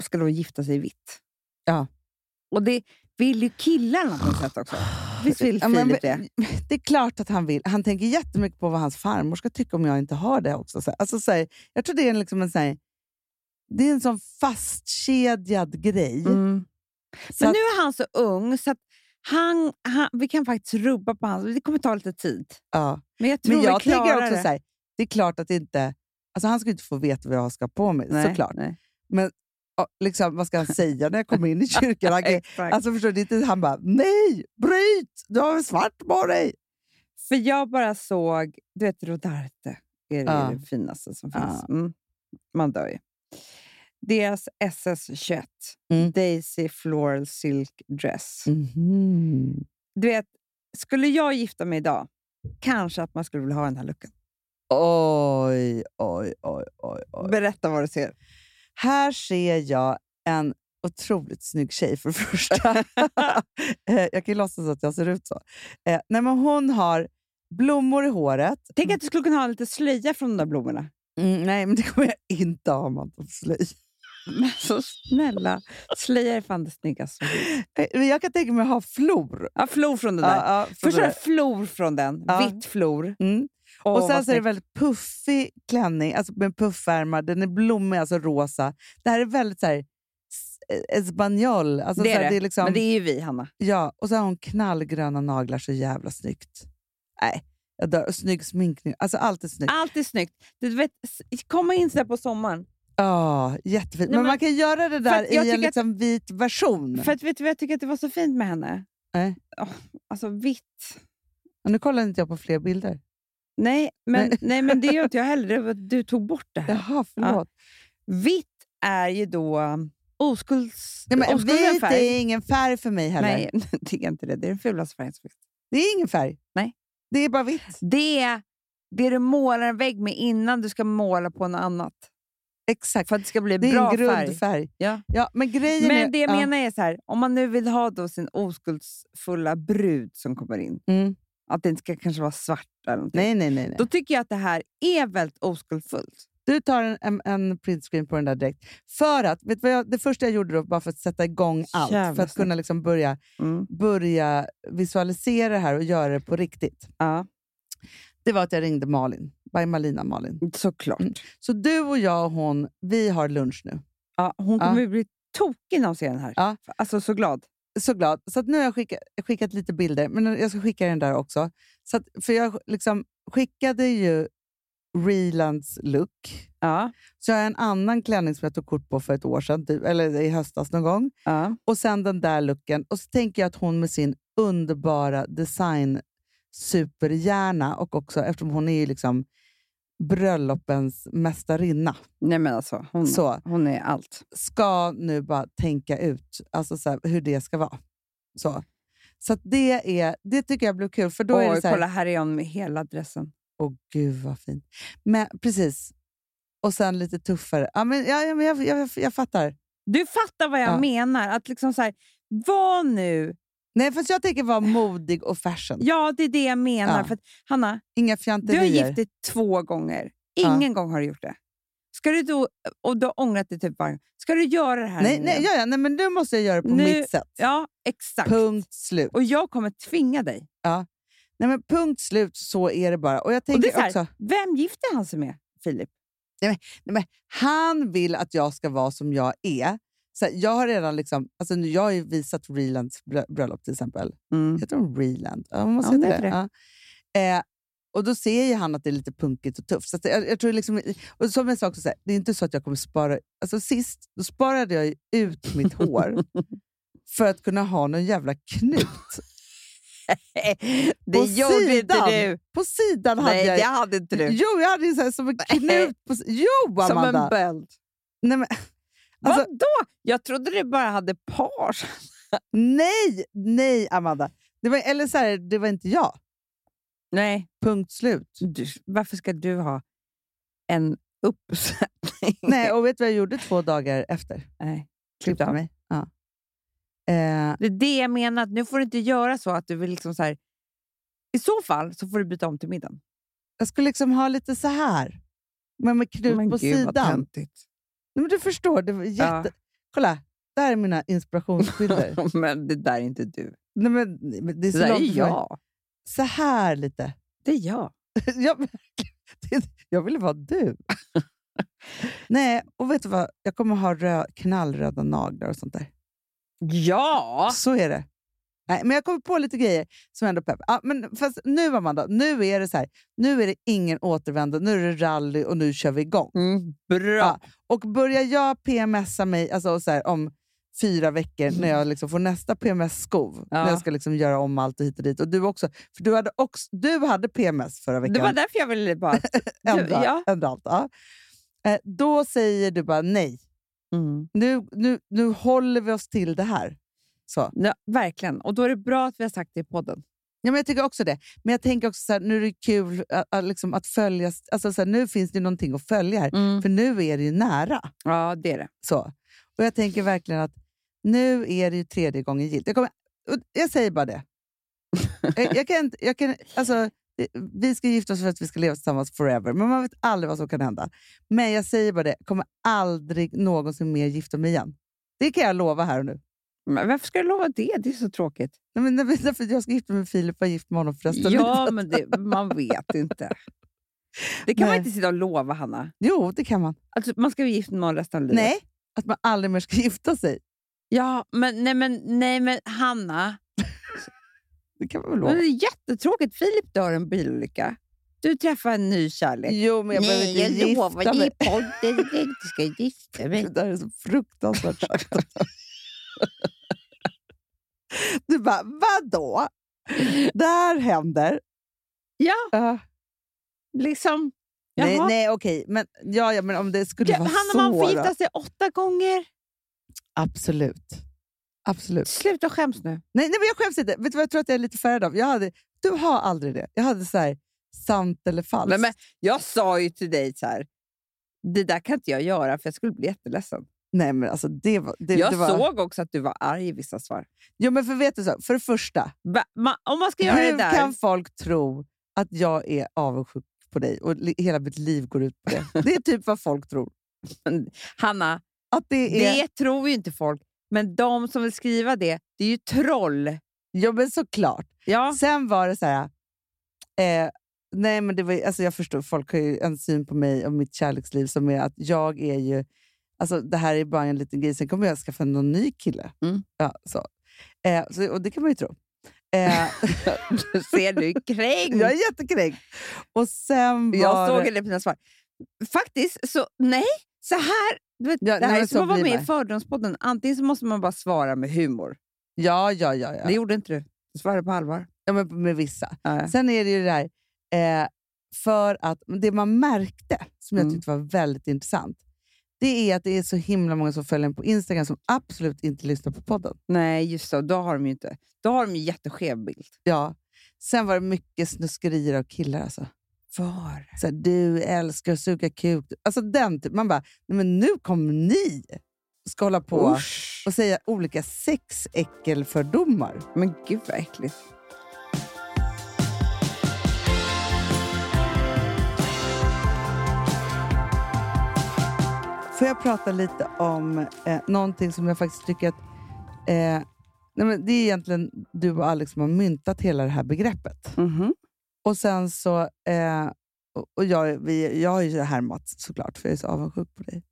Speaker 4: Ska då gifta sig vitt. Ja. Och det vill ju killarna på något sätt också. Visst vill
Speaker 3: Ja, men-
Speaker 4: Filip det?
Speaker 3: [LAUGHS] Det är klart att han vill. Han tänker jättemycket på vad hans farmor ska tycka om jag inte har det också. Så här, Alltså, så här, jag tror det är en, liksom en, så här, det är en sån fastkedjad grej. Så
Speaker 4: Men
Speaker 3: att-
Speaker 4: Mm. nu är han så ung så att han, han, vi kan faktiskt rubba på hans... Det kommer ta lite tid.
Speaker 3: Ja.
Speaker 4: Men jag tror
Speaker 3: Men jag
Speaker 4: vi klarar
Speaker 3: tänker också
Speaker 4: det.
Speaker 3: så här, det är klart att det inte... Alltså han ska ju inte få veta vad jag ska ha på mig,
Speaker 4: Nej,
Speaker 3: såklart.
Speaker 4: nej.
Speaker 3: Men ja, liksom, vad ska han säga när jag
Speaker 4: [LAUGHS]
Speaker 3: kommer in i kyrkan? Han, kan-
Speaker 4: Exakt.
Speaker 3: alltså, förstår du, det är inte han bara, nej, bryt! Du har väl svart på dig!
Speaker 4: För jag bara såg, du vet Rodarte är det,
Speaker 3: Ja.
Speaker 4: det finaste som
Speaker 3: Ja.
Speaker 4: finns. Mm. Man dör ju. Deras SS21,
Speaker 3: Mm.
Speaker 4: Daisy Floral Silk Dress. Mhm. Du vet, skulle jag gifta mig idag, kanske att man skulle vilja ha den här looken.
Speaker 3: Oj, oj, oj, oj, oj.
Speaker 4: Berätta vad du ser.
Speaker 3: Här ser jag en otroligt snygg tjej för [LAUGHS] det
Speaker 4: [LAUGHS]
Speaker 3: första. Eh, jag kan ju låtsas att jag ser ut så. Eh, nej, men hon har blommor i håret.
Speaker 4: Tänk att du skulle kunna ha lite slöja från de där blommorna.
Speaker 3: Mm, nej, men det kommer jag inte ha om man tar slöj.
Speaker 4: Men så snälla, slöja är fan det snyggaste som finns.
Speaker 3: Eh, Men jag kan tänka mig att ha flor.
Speaker 4: Ja, flor från den där.
Speaker 3: Ja, ja, för
Speaker 4: Först
Speaker 3: det
Speaker 4: har
Speaker 3: där.
Speaker 4: jag flor från den,
Speaker 3: Ja.
Speaker 4: vitt flor.
Speaker 3: Mm.
Speaker 4: Åh,
Speaker 3: Och
Speaker 4: vad
Speaker 3: sen så är det
Speaker 4: snyggt.
Speaker 3: väldigt puffig klänning alltså med puffärmar. Den är blommig, alltså rosa. Det här är väldigt så här, s- eh, espanjol. Alltså,
Speaker 4: det
Speaker 3: så
Speaker 4: är
Speaker 3: här,
Speaker 4: det.
Speaker 3: Det är liksom,
Speaker 4: Men det är ju vi, Hanna.
Speaker 3: Ja, och så har hon knallgröna naglar så jävla snyggt. Nej, jag dör. Och Snygg sminkning. Alltså allt är snyggt.
Speaker 4: Allt är snyggt. Du vet, s- komma in sådär på sommaren.
Speaker 3: Ja, jättefint.
Speaker 4: Nej,
Speaker 3: men,
Speaker 4: men-
Speaker 3: man kan göra det där
Speaker 4: att jag
Speaker 3: i en
Speaker 4: tycker att-
Speaker 3: liksom vit version.
Speaker 4: För att, vet du vad jag tycker att det var så fint med henne?
Speaker 3: Nej.
Speaker 4: Åh, alltså vitt.
Speaker 3: Och nu kollar inte jag på fler bilder.
Speaker 4: Nej, men, nej. men
Speaker 3: [LAUGHS]
Speaker 4: det gör inte jag heller. Det var, du tog bort det här.
Speaker 3: Jaha, förlåt.
Speaker 4: Vitt är ju då um, oskulds...
Speaker 3: Nej, men
Speaker 4: oskulden
Speaker 3: vit är ingen färg för mig heller.
Speaker 4: Nej,
Speaker 3: [LAUGHS]
Speaker 4: det är inte det. Det är den fulaste färgen som finns.
Speaker 3: Det är ingen färg.
Speaker 4: Nej.
Speaker 3: Det är bara vitt.
Speaker 4: Det är Det du målar en vägg med innan du ska måla på något annat.
Speaker 3: Exakt.
Speaker 4: För att det ska bli en
Speaker 3: Det är
Speaker 4: bra
Speaker 3: en
Speaker 4: färg.
Speaker 3: grundfärg. Färg.
Speaker 4: Ja.
Speaker 3: Ja, men grejen är,
Speaker 4: Men det jag
Speaker 3: ja.
Speaker 4: menar är så här, om man nu vill ha då sin oskuldsfulla brud som kommer in,
Speaker 3: Mm.
Speaker 4: att den ska kanske vara svart eller någonting.
Speaker 3: Nej, nej, nej. nej.
Speaker 4: Då tycker jag att det här är väldigt oskuldsfullt.
Speaker 3: Du tar en, en, en printscreen på den där direkt. För att, vet du vad jag, det första jag gjorde då, bara för att sätta igång allt,
Speaker 4: Jävla
Speaker 3: för att kunna
Speaker 4: snyggt.
Speaker 3: liksom börja,
Speaker 4: Mm.
Speaker 3: börja visualisera det här och göra det på riktigt,
Speaker 4: Ja,
Speaker 3: det var att jag ringde Malin. By Malina Malin.
Speaker 4: såklart.
Speaker 3: Mm. Så du och jag och hon, vi har lunch nu.
Speaker 4: Ja, hon
Speaker 3: Ja.
Speaker 4: kommer ju bli tokig när hon ser den här.
Speaker 3: Ja.
Speaker 4: Alltså så glad.
Speaker 3: Så glad. Så att nu har jag skickat, skickat lite bilder, men jag ska skicka den där också. Så att, för jag liksom skickade ju Relands look.
Speaker 4: Ja,
Speaker 3: Så jag har en annan klänning som jag tog kort på för ett år sedan, typ, eller i höstas någon gång.
Speaker 4: ja.
Speaker 3: Och sen den där looken. Och så tänker jag att hon med sin underbara design superhjärna och också eftersom hon är ju liksom bröllopens mästarinna
Speaker 4: Nej men alltså, hon,
Speaker 3: så
Speaker 4: hon är allt.
Speaker 3: ska nu bara tänka ut alltså så här, hur det ska vara. Så, så att det, är, det tycker jag blir kul för då
Speaker 4: Oj,
Speaker 3: är det så
Speaker 4: kolla
Speaker 3: här,
Speaker 4: här är hon med hela dressen.
Speaker 3: åh gud vad fint. Men, precis. Och sen lite tuffare. Ja, men, ja, ja, men jag, jag, jag, jag fattar.
Speaker 4: Du fattar vad jag
Speaker 3: Ja.
Speaker 4: menar. Att liksom så här, var nu...
Speaker 3: Nej, fast jag tänker vara modig och fashion.
Speaker 4: Ja, det är det jag menar.
Speaker 3: Ja.
Speaker 4: För att, Hanna,
Speaker 3: Inga
Speaker 4: du har
Speaker 3: fjanterier.
Speaker 4: gift dig två gånger. Ingen gång har du gjort det. Ska du då, och du har ångrat dig typ varje gång. Ska du göra det här
Speaker 3: Nej,
Speaker 4: nu
Speaker 3: nej,
Speaker 4: igen?
Speaker 3: ja, ja, nej, men nu måste jag göra det på
Speaker 4: Nu-
Speaker 3: mitt sätt.
Speaker 4: Ja, exakt.
Speaker 3: Punkt slut.
Speaker 4: Och jag kommer tvinga dig.
Speaker 3: Nej, men punkt slut, så är det bara. Och jag
Speaker 4: Och
Speaker 3: tänker
Speaker 4: det är så här,
Speaker 3: också,
Speaker 4: Vem gifter han sig med, Filip?
Speaker 3: han vill att jag ska vara som jag är. Så här, jag har redan liksom, alltså, nu- jag har ju visat Relands brö- bröllop till exempel. [LAUGHS] Heter hon Reland? Ja, hon måste
Speaker 4: Mm. Ja, hon
Speaker 3: heta det.
Speaker 4: heter
Speaker 3: Ja. Eh, och då ser ju han att det är lite punkigt och tufft. Så att jag, jag tror liksom, och som jag sa också, så här, det är inte så att jag kommer spara... Alltså sist, då sparade jag ju ut mitt
Speaker 4: [LAUGHS]
Speaker 3: hår för att kunna ha någon jävla knut.
Speaker 4: det gjorde inte
Speaker 3: sidan.
Speaker 4: du.
Speaker 3: På sidan hade
Speaker 4: Nej,
Speaker 3: jag
Speaker 4: det hade inte du.
Speaker 3: Jo, jag hade ju så
Speaker 4: [LAUGHS]
Speaker 3: här, som en knut på... s- Jo,
Speaker 4: Som
Speaker 3: Amanda!
Speaker 4: en böld.
Speaker 3: nej, men, alltså,
Speaker 4: Vadå? Jag trodde du bara hade par.
Speaker 3: nej, nej, Amanda. Det var, eller så här, det var
Speaker 4: [LAUGHS]
Speaker 3: inte jag.
Speaker 4: Nej.
Speaker 3: Punkt slut.
Speaker 4: Du, varför ska du ha en uppsättning?
Speaker 3: Nej, och vet du vad jag gjorde två dagar efter?
Speaker 4: Nej. Klipp
Speaker 3: Klippte
Speaker 4: av.
Speaker 3: mig. Ja. Eh,
Speaker 4: Det är det jag menar. att Nu får du inte göra så att du vill liksom så här... I så fall så får du byta om till middagen.
Speaker 3: jag skulle liksom ha lite så här, men med knut på sidan. Nej,
Speaker 4: töntigt.
Speaker 3: men du förstår, det var jätte...
Speaker 4: Ja.
Speaker 3: Kolla, där är mina
Speaker 4: [LAUGHS] [LAUGHS]
Speaker 3: inspirationsbilder.
Speaker 4: Men det där är inte du.
Speaker 3: nej, men, nej, men det
Speaker 4: Det
Speaker 3: är så
Speaker 4: där är
Speaker 3: långt för mig.
Speaker 4: jag.
Speaker 3: Så här lite. [LAUGHS]
Speaker 4: Det är jag.
Speaker 3: jag, det- jag ville
Speaker 4: [LAUGHS]
Speaker 3: vara du. Nej, och vet du vad? Jag kommer ha rö, knallröda naglar och sånt där.
Speaker 4: Ja!
Speaker 3: Så är det. Nej, men jag kommer på lite grejer som ändå pepp. Ja, men fast nu, Amanda, nu är det så här. Nu är det ingen återvändo. Nu är det rally och nu kör vi igång.
Speaker 4: Mm, bra.
Speaker 3: Och börjar jag PMSa mig alltså, så här, om fyra veckor när jag liksom får nästa PMS-skov,
Speaker 4: Ja.
Speaker 3: när jag ska liksom göra om allt och hit och dit. Och du också, för du hade, också, du hade PMS förra veckan
Speaker 4: Det var därför jag ville
Speaker 3: [LAUGHS]
Speaker 4: bara...
Speaker 3: ändra,
Speaker 4: Ja.
Speaker 3: ändra allt. Ja. Eh, då säger du bara nej. Nu, nu, nu håller vi oss till det här. Så.
Speaker 4: Ja, verkligen. Och då är det bra att vi har sagt det i podden.
Speaker 3: Ja, men jag tycker också det. Men jag tänker också så här, nu är det kul att, att, liksom, att följa. Alltså, så här, nu finns det ju någonting att följa
Speaker 4: Mm.
Speaker 3: här. För nu är det ju nära.
Speaker 4: Ja, det är det.
Speaker 3: Så. Och jag tänker verkligen att nu är det ju tredje gången gillt. Jag, kommer, och jag säger bara det. jag, jag kan, inte- jag kan, alltså, vi ska gifta oss för att vi ska leva tillsammans forever, men man vet aldrig vad som kan hända. Men jag säger bara det, jag kommer aldrig någonsin mer gifta mig igen. Det kan jag lova här och nu.
Speaker 4: Men varför ska du lova det? Det är så tråkigt.
Speaker 3: Nej, men, nej, men därför att jag ska gifta mig med Filip och vara gift med honom för resten av
Speaker 4: Ja,
Speaker 3: livet.
Speaker 4: men det, man vet inte. Det kan man
Speaker 3: Nej.
Speaker 4: inte sitta och lova, Hanna.
Speaker 3: Jo, det kan man.
Speaker 4: Alltså, man ska bli gift med någon resten av livet.
Speaker 3: Nej, att man aldrig mer ska [LAUGHS] gifta sig.
Speaker 4: Ja, men, nej, men, nej, men Hanna.
Speaker 3: Det kan man väl
Speaker 4: Det
Speaker 3: lova.
Speaker 4: är jättetråkigt. Filip dör i en bilolycka. Du träffar en ny kärlek.
Speaker 3: Jo, men jag behöver inte gifta mig.
Speaker 4: podden att jag inte ska gifta mig.
Speaker 3: Det där är så fruktansvärt sagt. [LAUGHS] Du bara, vadå? Det här händer.
Speaker 4: Ja,
Speaker 3: Ja.
Speaker 4: liksom.
Speaker 3: nej,
Speaker 4: Jaha.
Speaker 3: nej, okej. Men, ja, ja, men om det skulle
Speaker 4: Ja,
Speaker 3: vara
Speaker 4: Hanna,
Speaker 3: så.
Speaker 4: man får
Speaker 3: då.
Speaker 4: gifta sig åtta gånger.
Speaker 3: Absolut. Absolut.
Speaker 4: Sluta skäms nu.
Speaker 3: Nej, nej, men jag skäms inte. Vet du vad jag tror att jag är lite färgad av? Jag hade, du har aldrig det. Jag hade så här, sant eller falskt.
Speaker 4: Men, men, jag sa ju till dig så här, det där kan inte jag göra för jag skulle bli jätteledsen.
Speaker 3: Nej, men alltså det var... Det,
Speaker 4: jag
Speaker 3: det var...
Speaker 4: såg också att du var arg i vissa svar.
Speaker 3: Jo, men för vet du så, för det första,
Speaker 4: Va, ma, om man ska göra det
Speaker 3: hur
Speaker 4: där...
Speaker 3: kan folk tro att jag är avundsjuk på dig och li- hela mitt liv går ut
Speaker 4: [LAUGHS]
Speaker 3: på det? Det är typ vad folk tror.
Speaker 4: Hanna,
Speaker 3: Att det är...
Speaker 4: det tror ju inte folk. Men de som vill skriva det, det är ju troll.
Speaker 3: Jo, men såklart.
Speaker 4: [LAUGHS] Ja.
Speaker 3: Sen var det så här... Eh, nej, men det var, alltså jag förstår, folk har ju en syn på mig och mitt kärleksliv som är att jag är ju... Alltså, det här är bara en liten grej, sen kommer jag skaffa någon ny kille.
Speaker 4: Mm.
Speaker 3: Ja, så. Eh, så, och det kan man ju tro.
Speaker 4: [LAUGHS]
Speaker 3: Eh, [LAUGHS]
Speaker 4: Du ser, du är kränkt.
Speaker 3: jag är jättekränkt. Och sen var
Speaker 4: Jag såg
Speaker 3: det-
Speaker 4: henne på dina svar. Faktiskt, så nej. Så här, du vet,
Speaker 3: Ja,
Speaker 4: det
Speaker 3: nej,
Speaker 4: här är
Speaker 3: men
Speaker 4: som
Speaker 3: så
Speaker 4: att vara
Speaker 3: blir
Speaker 4: med
Speaker 3: man.
Speaker 4: i Fördomspodden. Antingen så måste man bara svara med humor.
Speaker 3: Ja, ja, ja. ja.
Speaker 4: Det gjorde inte du. Du svarade på allvar.
Speaker 3: ja men med vissa.
Speaker 4: Ja.
Speaker 3: Sen är det ju det där, eh, för att men det man märkte, som jag
Speaker 4: Mm.
Speaker 3: tyckte var väldigt intressant, det är att det är så himla många som följer en på Instagram som absolut inte lyssnar på podden.
Speaker 4: Nej, just det. Då har de ju inte. Då har de ju jätteskev bild.
Speaker 3: Ja. Sen var det mycket snuskerier av killar. Alltså.
Speaker 4: Var?
Speaker 3: Så här, du älskar att suga kuk. Alltså den typ. Man bara, nej, men nu kommer ni ska hålla på och säga olika sexäckelfördomar.
Speaker 4: Men gud vad äckligt.
Speaker 3: Får jag prata lite om eh, någonting som jag faktiskt tycker att... Eh, nej men det är egentligen du och Alex som har myntat hela det här begreppet.
Speaker 4: Mhm.
Speaker 3: Och sen så... Eh, och- och jag, vi, jag har ju härmat såklart, för jag är så avundsjuk
Speaker 4: [LAUGHS]
Speaker 3: på dig.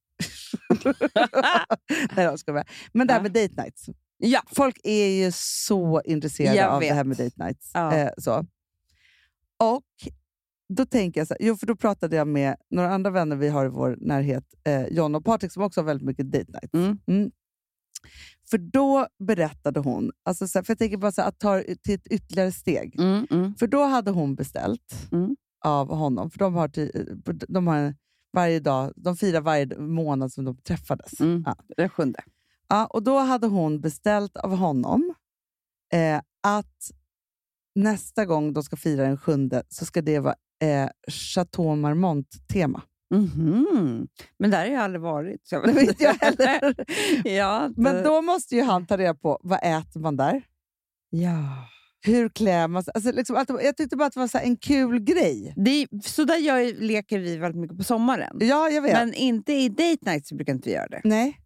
Speaker 3: Nej, jag skojar bara. Men det här med date nights.
Speaker 4: Ja.
Speaker 3: Folk är ju så intresserade
Speaker 4: Jag
Speaker 3: av det
Speaker 4: vet.
Speaker 3: här med date nights.
Speaker 4: Ja.
Speaker 3: Eh, så. Och då tänker jag så här, jo, för då pratade jag med några andra vänner vi har i vår närhet, eh, John och Patrik, som också har väldigt mycket date nights.
Speaker 4: Mm.
Speaker 3: För då berättade hon, alltså så här, för jag tänker bara så här, att ta det till ett ytterligare steg.
Speaker 4: Mm, mm.
Speaker 3: För då hade hon beställt
Speaker 4: Mm. av
Speaker 3: honom, för de har, ty- de har varje dag, de firar varje månad som de träffades.
Speaker 4: Mm.
Speaker 3: Ja.
Speaker 4: Den sjunde.
Speaker 3: Ja, och då hade hon beställt av honom eh, att nästa gång de ska fira den sjunde så ska det vara eh, Chateau Marmont-tema.
Speaker 4: Mhm. Men där har jag aldrig varit. Så jag
Speaker 3: Det [LAUGHS]
Speaker 4: vet
Speaker 3: vet
Speaker 4: inte.
Speaker 3: jag heller.
Speaker 4: ja, eh, det-
Speaker 3: Men då måste ju han ta reda på vad äter man där?
Speaker 4: ja.
Speaker 3: Hur klär man sig? Alltså, liksom, att, jag tyckte bara att det var så här en kul grej.
Speaker 4: Det är, så där gör, ju- leker vi väldigt mycket på sommaren.
Speaker 3: Ja, jag vet.
Speaker 4: Men inte i date night så brukar inte vi göra det.
Speaker 3: Nej,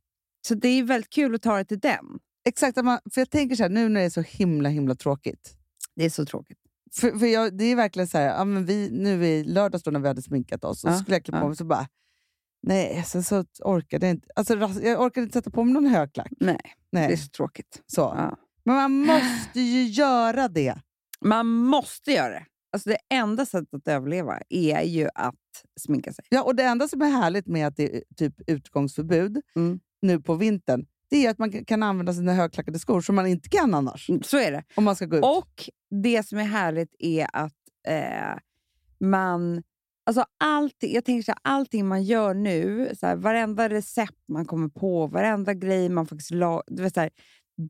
Speaker 4: Så det är väldigt kul att ta det till den.
Speaker 3: exakt. att Man, för jag tänker så här, nu när det är så himla himla tråkigt.
Speaker 4: Det är så tråkigt.
Speaker 3: För, för jag, det är verkligen så här, ja, men vi, nu i lördags då när vi hade sminkat oss, och
Speaker 4: Ja,
Speaker 3: så skulle jag klä på
Speaker 4: ja.
Speaker 3: mig så bara, nej, sen så orkade jag inte. Alltså, ras- jag orkade inte sätta på mig någon högklack.
Speaker 4: Nej, det är
Speaker 3: nej.
Speaker 4: så tråkigt.
Speaker 3: Så.
Speaker 4: Ja. [GASPS]
Speaker 3: Men man måste ju göra det.
Speaker 4: Man måste göra det. Alltså det enda sättet att överleva är ju att sminka sig.
Speaker 3: Ja, och det enda som är härligt med att det är typ utgångsförbud
Speaker 4: Mm.
Speaker 3: nu på vintern, det är att man kan använda sina högklackade skor som man inte kan annars.
Speaker 4: Så är det.
Speaker 3: Om man ska gå ut.
Speaker 4: Mm. Och det som är härligt är att eh, man... Alltså allt, jag tänker så här, allting man gör nu, så här, varenda recept man kommer på, varenda grej man faktiskt la, du vet, så här,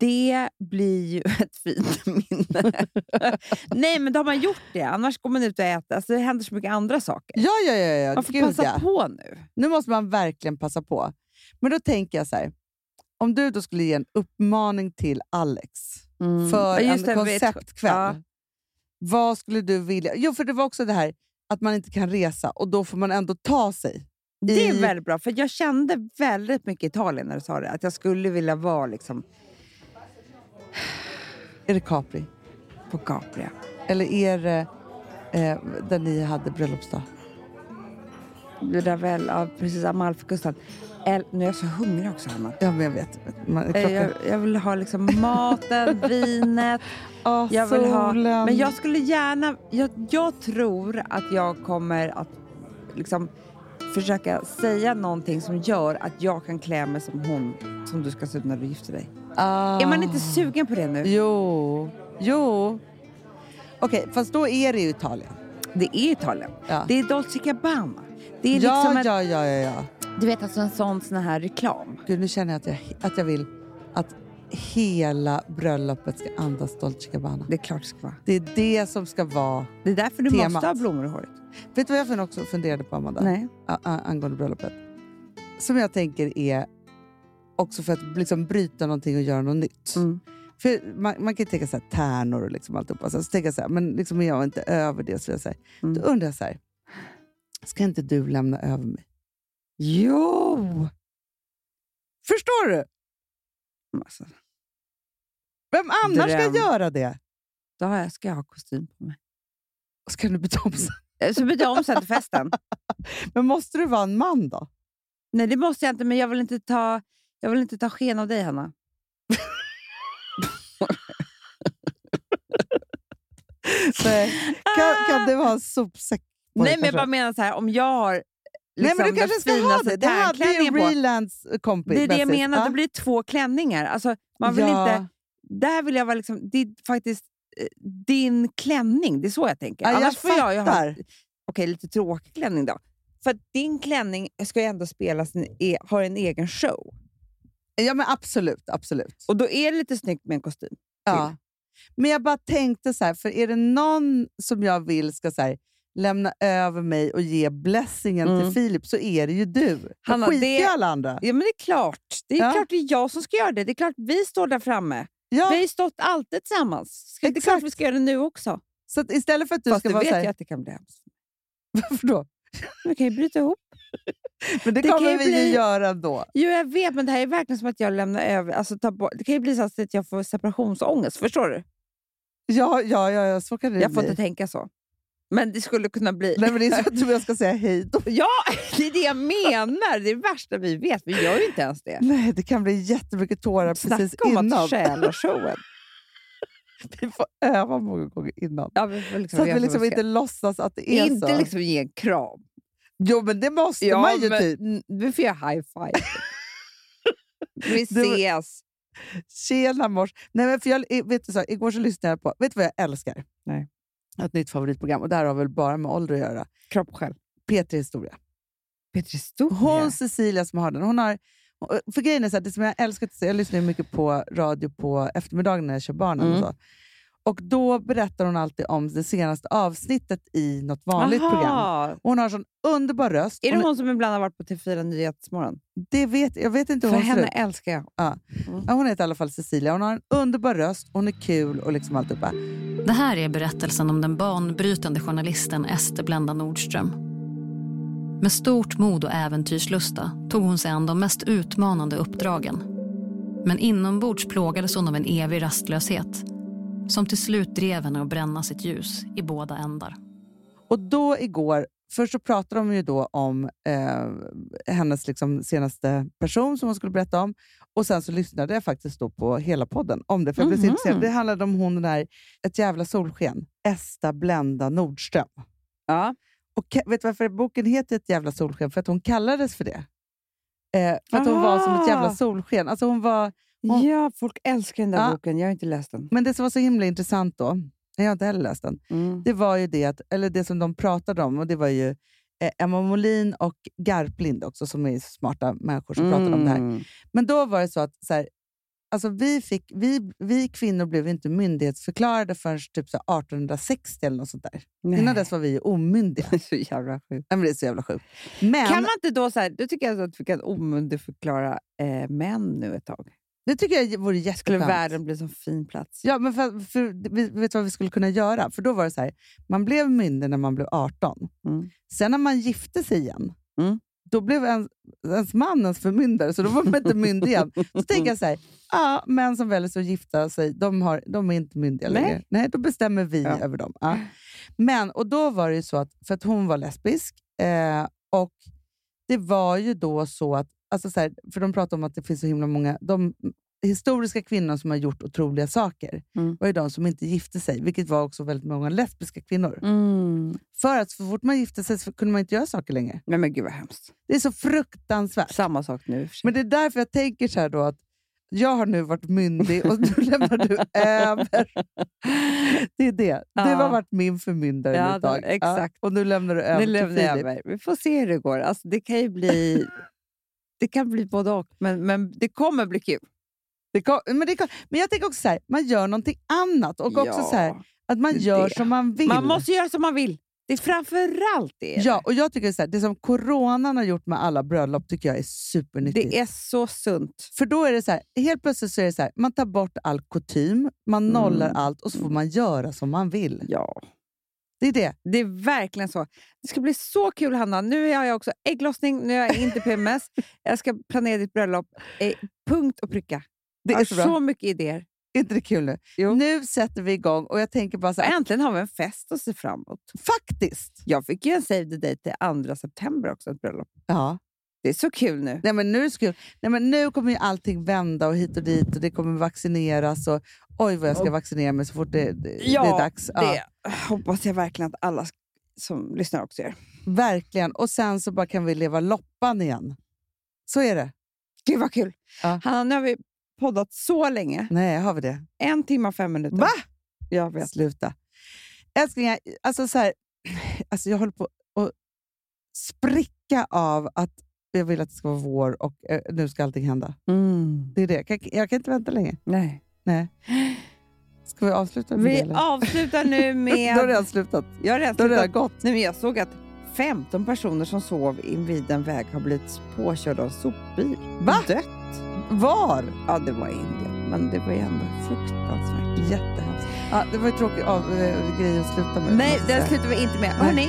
Speaker 4: det blir ju [LAUGHS] ett fint minne.
Speaker 3: [LAUGHS]
Speaker 4: Nej, men då har man gjort det. Annars går man ut och äter. Alltså, det händer så mycket andra saker.
Speaker 3: Ja, ja, ja. ja.
Speaker 4: Man får
Speaker 3: Gud,
Speaker 4: passa
Speaker 3: ja.
Speaker 4: på nu.
Speaker 3: Nu måste man verkligen passa på. Men då tänker jag så här. Om du då skulle ge en uppmaning till Alex Mm.
Speaker 4: Mm.
Speaker 3: för
Speaker 4: Ja,
Speaker 3: en
Speaker 4: just det, vi-
Speaker 3: konceptkväll.
Speaker 4: ja.
Speaker 3: Vad skulle du vilja? Jo, för det var också det här att man inte kan resa och då får man ändå ta sig.
Speaker 4: Det
Speaker 3: i-
Speaker 4: är väldigt bra, för jag kände väldigt mycket i Italien när du sa det. Att jag skulle vilja vara liksom,
Speaker 3: Är det Capri?
Speaker 4: på Capria.
Speaker 3: Eller är det eh, där ni hade bröllopsdag?
Speaker 4: Ravel, ja, precis. Amalfikusten. El- Nu är jag så hungrig också, Hanna.
Speaker 3: Ja, men jag vet. Man,
Speaker 4: Eh,
Speaker 3: klockan,
Speaker 4: Jag, jag vill ha liksom
Speaker 3: [LAUGHS]
Speaker 4: maten, vinet.
Speaker 3: Ah,
Speaker 4: Jag vill ha,
Speaker 3: solen.
Speaker 4: men jag skulle gärna... Jag, jag tror att jag kommer att liksom försöka säga någonting som gör att jag kan klä mig som hon som du ska se ut när du gifter dig.
Speaker 3: Ah.
Speaker 4: Är man inte sugen på det nu?
Speaker 3: Jo. Jo. Okej, fast då är det ju Italien.
Speaker 4: Det är Italien.
Speaker 3: Ja.
Speaker 4: Det är Dolce Gabbana. Det är
Speaker 3: ja,
Speaker 4: liksom en,
Speaker 3: ja, ja, ja, ja.
Speaker 4: Du vet, alltså en sån sån här reklam.
Speaker 3: Gud, nu känner jag att jag, att jag vill att hela bröllopet ska andas Dolce Gabbana.
Speaker 4: Det är klart det ska vara.
Speaker 3: Det är det som ska vara...
Speaker 4: Det är därför du
Speaker 3: Temat.
Speaker 4: måste ha blommor i håret.
Speaker 3: Vet du vad jag för- också funderade på, Amanda?
Speaker 4: Nej.
Speaker 3: a- a- angående bröllopet. Som jag tänker är också för att liksom bryta någonting och göra något nytt.
Speaker 4: Mm.
Speaker 3: För man, man kan ju tänka så här, tärnor och liksom alltihopa. Så, så tänker jag så här, men liksom är jag inte över det så, jag säger.
Speaker 4: Mm.
Speaker 3: då undrar jag så här, ska inte du lämna över mig?
Speaker 4: Jo!
Speaker 3: Förstår du?
Speaker 4: Alltså,
Speaker 3: Vem annars
Speaker 4: Dröm.
Speaker 3: ska göra det?
Speaker 4: då har jag, ska jag ha kostym på mig.
Speaker 3: Och så kan du byta om sen.
Speaker 4: Eh, Så byter jag om sen till
Speaker 3: [LAUGHS]
Speaker 4: festen.
Speaker 3: Men måste du vara en man då?
Speaker 4: Nej, det måste jag inte, men jag vill inte ta, jag vill inte ta sken av dig, Hanna.
Speaker 3: Nej. eh, Kan, kan du ha en sopsäck?
Speaker 4: Ah! Nej,
Speaker 3: på dig
Speaker 4: men jag
Speaker 3: kanske?
Speaker 4: bara menar så här, om jag har liksom,
Speaker 3: Nej, men du
Speaker 4: den
Speaker 3: kanske ska ha
Speaker 4: finaste
Speaker 3: det. Det hade ju
Speaker 4: tärnklänningen på-
Speaker 3: Relands kompis.
Speaker 4: Det är det jag
Speaker 3: Bessie.
Speaker 4: menar,
Speaker 3: Ja.
Speaker 4: då blir det två klänningar. Alltså, man vill
Speaker 3: Ja.
Speaker 4: inte, där vill jag vara liksom, det är faktiskt eh, din klänning. Det är så jag tänker.
Speaker 3: Ja, jag
Speaker 4: Annars får jag ju ha
Speaker 3: fattar.
Speaker 4: okej, lite tråkig klänning då. För att din klänning ska ju ändå spela sin e, har en egen show.
Speaker 3: Ja, men absolut. absolut.
Speaker 4: Och då är det lite snyggt med en kostym.
Speaker 3: ja. Men jag bara tänkte så här, för är det någon som jag vill ska så här, lämna över mig och ge blessingen
Speaker 4: Mm.
Speaker 3: till Filip så är det ju du.
Speaker 4: Hanna,
Speaker 3: Hanna, skit
Speaker 4: det-
Speaker 3: i alla andra.
Speaker 4: Ja, men det är klart. Det är
Speaker 3: Ja.
Speaker 4: klart det är jag som ska göra det. Det är klart vi står där framme.
Speaker 3: Ja,
Speaker 4: Vi har ju stått alltid tillsammans. Ska- Det är klart
Speaker 3: Exakt.
Speaker 4: vi ska göra det nu också.
Speaker 3: så att istället för att du
Speaker 4: Fast
Speaker 3: ska
Speaker 4: det
Speaker 3: vara
Speaker 4: vet
Speaker 3: så här,
Speaker 4: jag att det kan bli [LAUGHS] hemskt.
Speaker 3: varför då?
Speaker 4: Vi kan ju bryta ihop.
Speaker 3: Men det,
Speaker 4: Det kan
Speaker 3: kommer
Speaker 4: ju
Speaker 3: vi
Speaker 4: bli-
Speaker 3: ju göra då.
Speaker 4: Jo, jag vet, men det här är verkligen som att jag lämnar över. Alltså, ta bort. Det kan ju bli så att jag får separationsångest. Förstår du?
Speaker 3: Ja, ja, ja, ja så kan det
Speaker 4: Jag får
Speaker 3: bli.
Speaker 4: inte tänka så. Men det skulle kunna bli...
Speaker 3: Nej, men det är så att jag ska säga hej
Speaker 4: [LAUGHS]
Speaker 3: då.
Speaker 4: Ja, det är det jag menar! Det är det värsta vi vet. Vi gör ju inte ens det.
Speaker 3: Nej, det kan bli jättemycket tårar precis
Speaker 4: Snacka om
Speaker 3: innan.
Speaker 4: att stjäla showen.
Speaker 3: [LAUGHS] Vi får öva många gånger innan.
Speaker 4: Ja, vi får liksom
Speaker 3: Så att
Speaker 4: göra
Speaker 3: vi
Speaker 4: vad
Speaker 3: liksom
Speaker 4: ska.
Speaker 3: inte låtsas att det är
Speaker 4: inte
Speaker 3: så.
Speaker 4: liksom ge en kram.
Speaker 3: Jo, men det måste man ju
Speaker 4: men
Speaker 3: typ.
Speaker 4: n- vi får göra high [LAUGHS] five. vi
Speaker 3: Du-
Speaker 4: ses.
Speaker 3: Tjena mors. Nej, men för jag, i- vet du, så, här, igår så lyssnade jag på, vet du vad jag älskar?
Speaker 4: Nej.
Speaker 3: Ett nytt favoritprogram, och det här har väl bara med ålder att göra.
Speaker 4: Kropp själv.
Speaker 3: P3 Historia.
Speaker 4: Petri Stor.
Speaker 3: Hon Cecilia som har den, hon har, för grejen är så här, det som jag älskar, att se- jag lyssnar ju mycket på radio på eftermiddagen när jag kör barnen och
Speaker 4: Mm.
Speaker 3: så. Och då berättar hon alltid om det senaste avsnittet i något vanligt program. Och Hon har sån underbar röst.
Speaker 4: Är det hon som ibland har varit på TV4 Nyhetsmorgon?
Speaker 3: det vet, jag vet inte hur
Speaker 4: För
Speaker 3: hon ser
Speaker 4: henne
Speaker 3: ut.
Speaker 4: älskar jag.
Speaker 3: Ja, Hon heter i alla fall Cecilia. Hon har en underbar röst, hon är kul och liksom alltihopa.
Speaker 8: Det här är berättelsen om den banbrytande journalisten Ester Blenda Nordström. Med stort mod och äventyrslusta tog hon sig an de mest utmanande uppdragen. Men inombords plågades hon av en evig rastlöshet som till slut drev henne att bränna sitt ljus i båda ändar.
Speaker 3: Och då igår, först så pratade de ju då om eh, hennes liksom senaste person som hon skulle berätta om. Och sen så lyssnade jag faktiskt då på hela podden om det, för jag blev så
Speaker 4: Mhm.
Speaker 3: intresserad. Det handlade om hon den där, ett jävla solsken, Esta Blenda Nordström.
Speaker 4: Ja.
Speaker 3: Och ka- vet du varför boken heter Ett jävla solsken? För att hon kallades för det. Eh, för att hon var som ett jävla
Speaker 4: Aha.
Speaker 3: solsken. Alltså hon var, Hon-
Speaker 4: ja, folk älskar den där
Speaker 3: Ja.
Speaker 4: boken. Jag har inte läst den.
Speaker 3: men det som var så himla intressant då, jag har inte heller läst den,
Speaker 4: Mm.
Speaker 3: det var ju det, att, eller det som de pratade om, och det var ju eh, Emma Molin och Garplind också, som är smarta människor som pratade om det
Speaker 4: Mm.
Speaker 3: här. Men då var det så att så här, alltså vi, fick, vi, vi kvinnor blev inte myndighetsförklarade förrän typ så här 1860 eller något sånt där. Innan dess var vi ju omyndiga.
Speaker 4: [LAUGHS] det är så jävla sjukt.
Speaker 3: Nej, men det är så jävla sjukt. Men
Speaker 4: Kan man inte då så här, då tycker jag att vi kan omyndigförklara eh, män nu ett tag.
Speaker 3: det tycker jag vore
Speaker 4: Skulle
Speaker 3: jätteskönt.
Speaker 4: världen bli en sån fin plats?
Speaker 3: Ja, men för, för, vi- vet du vad vi skulle kunna göra? För då var det så här, man blev myndig när man blev 18.
Speaker 4: Mm.
Speaker 3: Sen när man gifte sig igen,
Speaker 4: Mm.
Speaker 3: då blev ens, ens man ens förmyndare, så då var man inte myndig igen. Så
Speaker 4: Mm.
Speaker 3: tänker jag så här, ja, män som väljer sig att gifta sig, de, har, de är inte myndiga
Speaker 4: Nej.
Speaker 3: längre. Nej, då bestämmer vi
Speaker 4: Ja.
Speaker 3: över dem. Ja. Men, och då var det ju så att, för att hon var lesbisk, eh, och det var ju då så att, alltså så här, för de pratar om att det finns så himla många, de historiska kvinnor som har gjort otroliga saker
Speaker 4: Mm.
Speaker 3: var ju de som inte gifte sig, vilket var också väldigt många lesbiska kvinnor.
Speaker 4: Mm.
Speaker 3: För att så fort man gifte sig så kunde man inte göra saker längre.
Speaker 4: Nej, men gud vad hemskt.
Speaker 3: Det är så fruktansvärt.
Speaker 4: Samma sak nu. i och för sig.
Speaker 3: Men det är därför jag tänker så här då att jag har nu varit myndig och nu lämnar du
Speaker 4: [LAUGHS]
Speaker 3: över. Det är det. Du
Speaker 4: Ja.
Speaker 3: har varit min förmyndare
Speaker 4: Ja,
Speaker 3: nu ett tag.
Speaker 4: det- exakt.
Speaker 3: Ja, och nu lämnar du över
Speaker 4: nu
Speaker 3: till
Speaker 4: lämnar
Speaker 3: Filip.
Speaker 4: jag över. Vi får se hur det går. [LAUGHS] Alltså, det kan ju bli... Det kan bli både och, men, men det kommer bli kul.
Speaker 3: Det kom, men, det kom, men jag tänker också så här, man gör någonting annat. Och också så här, att man
Speaker 4: det är
Speaker 3: gör
Speaker 4: det.
Speaker 3: som man vill.
Speaker 4: Man måste göra som man vill. Det är framförallt det. är
Speaker 3: Ja, och jag tycker så här, det som coronan har gjort med alla bröllop tycker jag är
Speaker 4: det.
Speaker 3: supernyttigt.
Speaker 4: Det är så sunt.
Speaker 3: För då är det så här, helt plötsligt så är det så här, man tar bort all kutym, man nollar allt och så får man göra som man vill.
Speaker 4: Mm. Ja.
Speaker 3: Det är det.
Speaker 4: Det är verkligen så. Det ska bli så kul, Hanna. Nu har jag också ägglossning, nu har jag inte
Speaker 3: [LAUGHS]
Speaker 4: PMS. jag ska planera ditt bröllop. Eh, punkt och pricka.
Speaker 3: Det
Speaker 4: Jag
Speaker 3: är
Speaker 4: har
Speaker 3: så bra.
Speaker 4: så mycket idéer.
Speaker 3: Är inte det kul nu?
Speaker 4: Jo.
Speaker 3: Nu sätter vi igång och jag tänker bara så
Speaker 4: Så
Speaker 3: här,
Speaker 4: äntligen har vi en fest att se fram emot.
Speaker 3: faktiskt!
Speaker 4: Jag fick ju en save the date till 2 september också, ett bröllop.
Speaker 3: Ja.
Speaker 4: Det är så kul nu.
Speaker 3: Nej, men nu, är det så kul. Nej, men nu kommer ju allting vända och hit och dit och det kommer vaccineras och oj vad jag ska vaccinera mig så fort det, det, det är dags. Ja.
Speaker 4: det hoppas jag verkligen att alla som lyssnar också gör.
Speaker 3: Verkligen. Och sen så bara kan vi leva loppan igen. Så är det.
Speaker 4: Gud vad kul!
Speaker 3: Ja.
Speaker 4: Hanna, nu har vi poddat så länge.
Speaker 3: Nej, har vi det?
Speaker 4: En timme och fem minuter.
Speaker 3: Va?
Speaker 4: Jag vet.
Speaker 3: Sluta. Älsklingar, alltså så här, [CLEARS THROAT] alltså jag håller på att spricka av att jag vill att det ska vara vår och eh, nu ska allting hända. Det är det. Jag kan, jag kan inte vänta längre.
Speaker 4: Mm. Nej.
Speaker 3: Ska vi avsluta med det?
Speaker 4: Vi
Speaker 3: eller?
Speaker 4: avslutar nu med...
Speaker 3: [LAUGHS] Då har det redan slutat.
Speaker 4: Jag har redan
Speaker 3: Då har det
Speaker 4: slutat.
Speaker 3: redan gått.
Speaker 4: Nej, men jag såg att 15 personer som sov invid en väg har blivit påkörda av sopbil.
Speaker 3: Va?
Speaker 4: Dött.
Speaker 3: Var?
Speaker 4: Ja, det var i Indien, men det var ju ändå fruktansvärt.
Speaker 3: Jättehemskt. Ja, det var ju tråkigt av eh, grej att sluta med.
Speaker 4: Nej,
Speaker 3: måste
Speaker 4: den
Speaker 3: jag säga.
Speaker 4: slutar vi inte med. Hörni,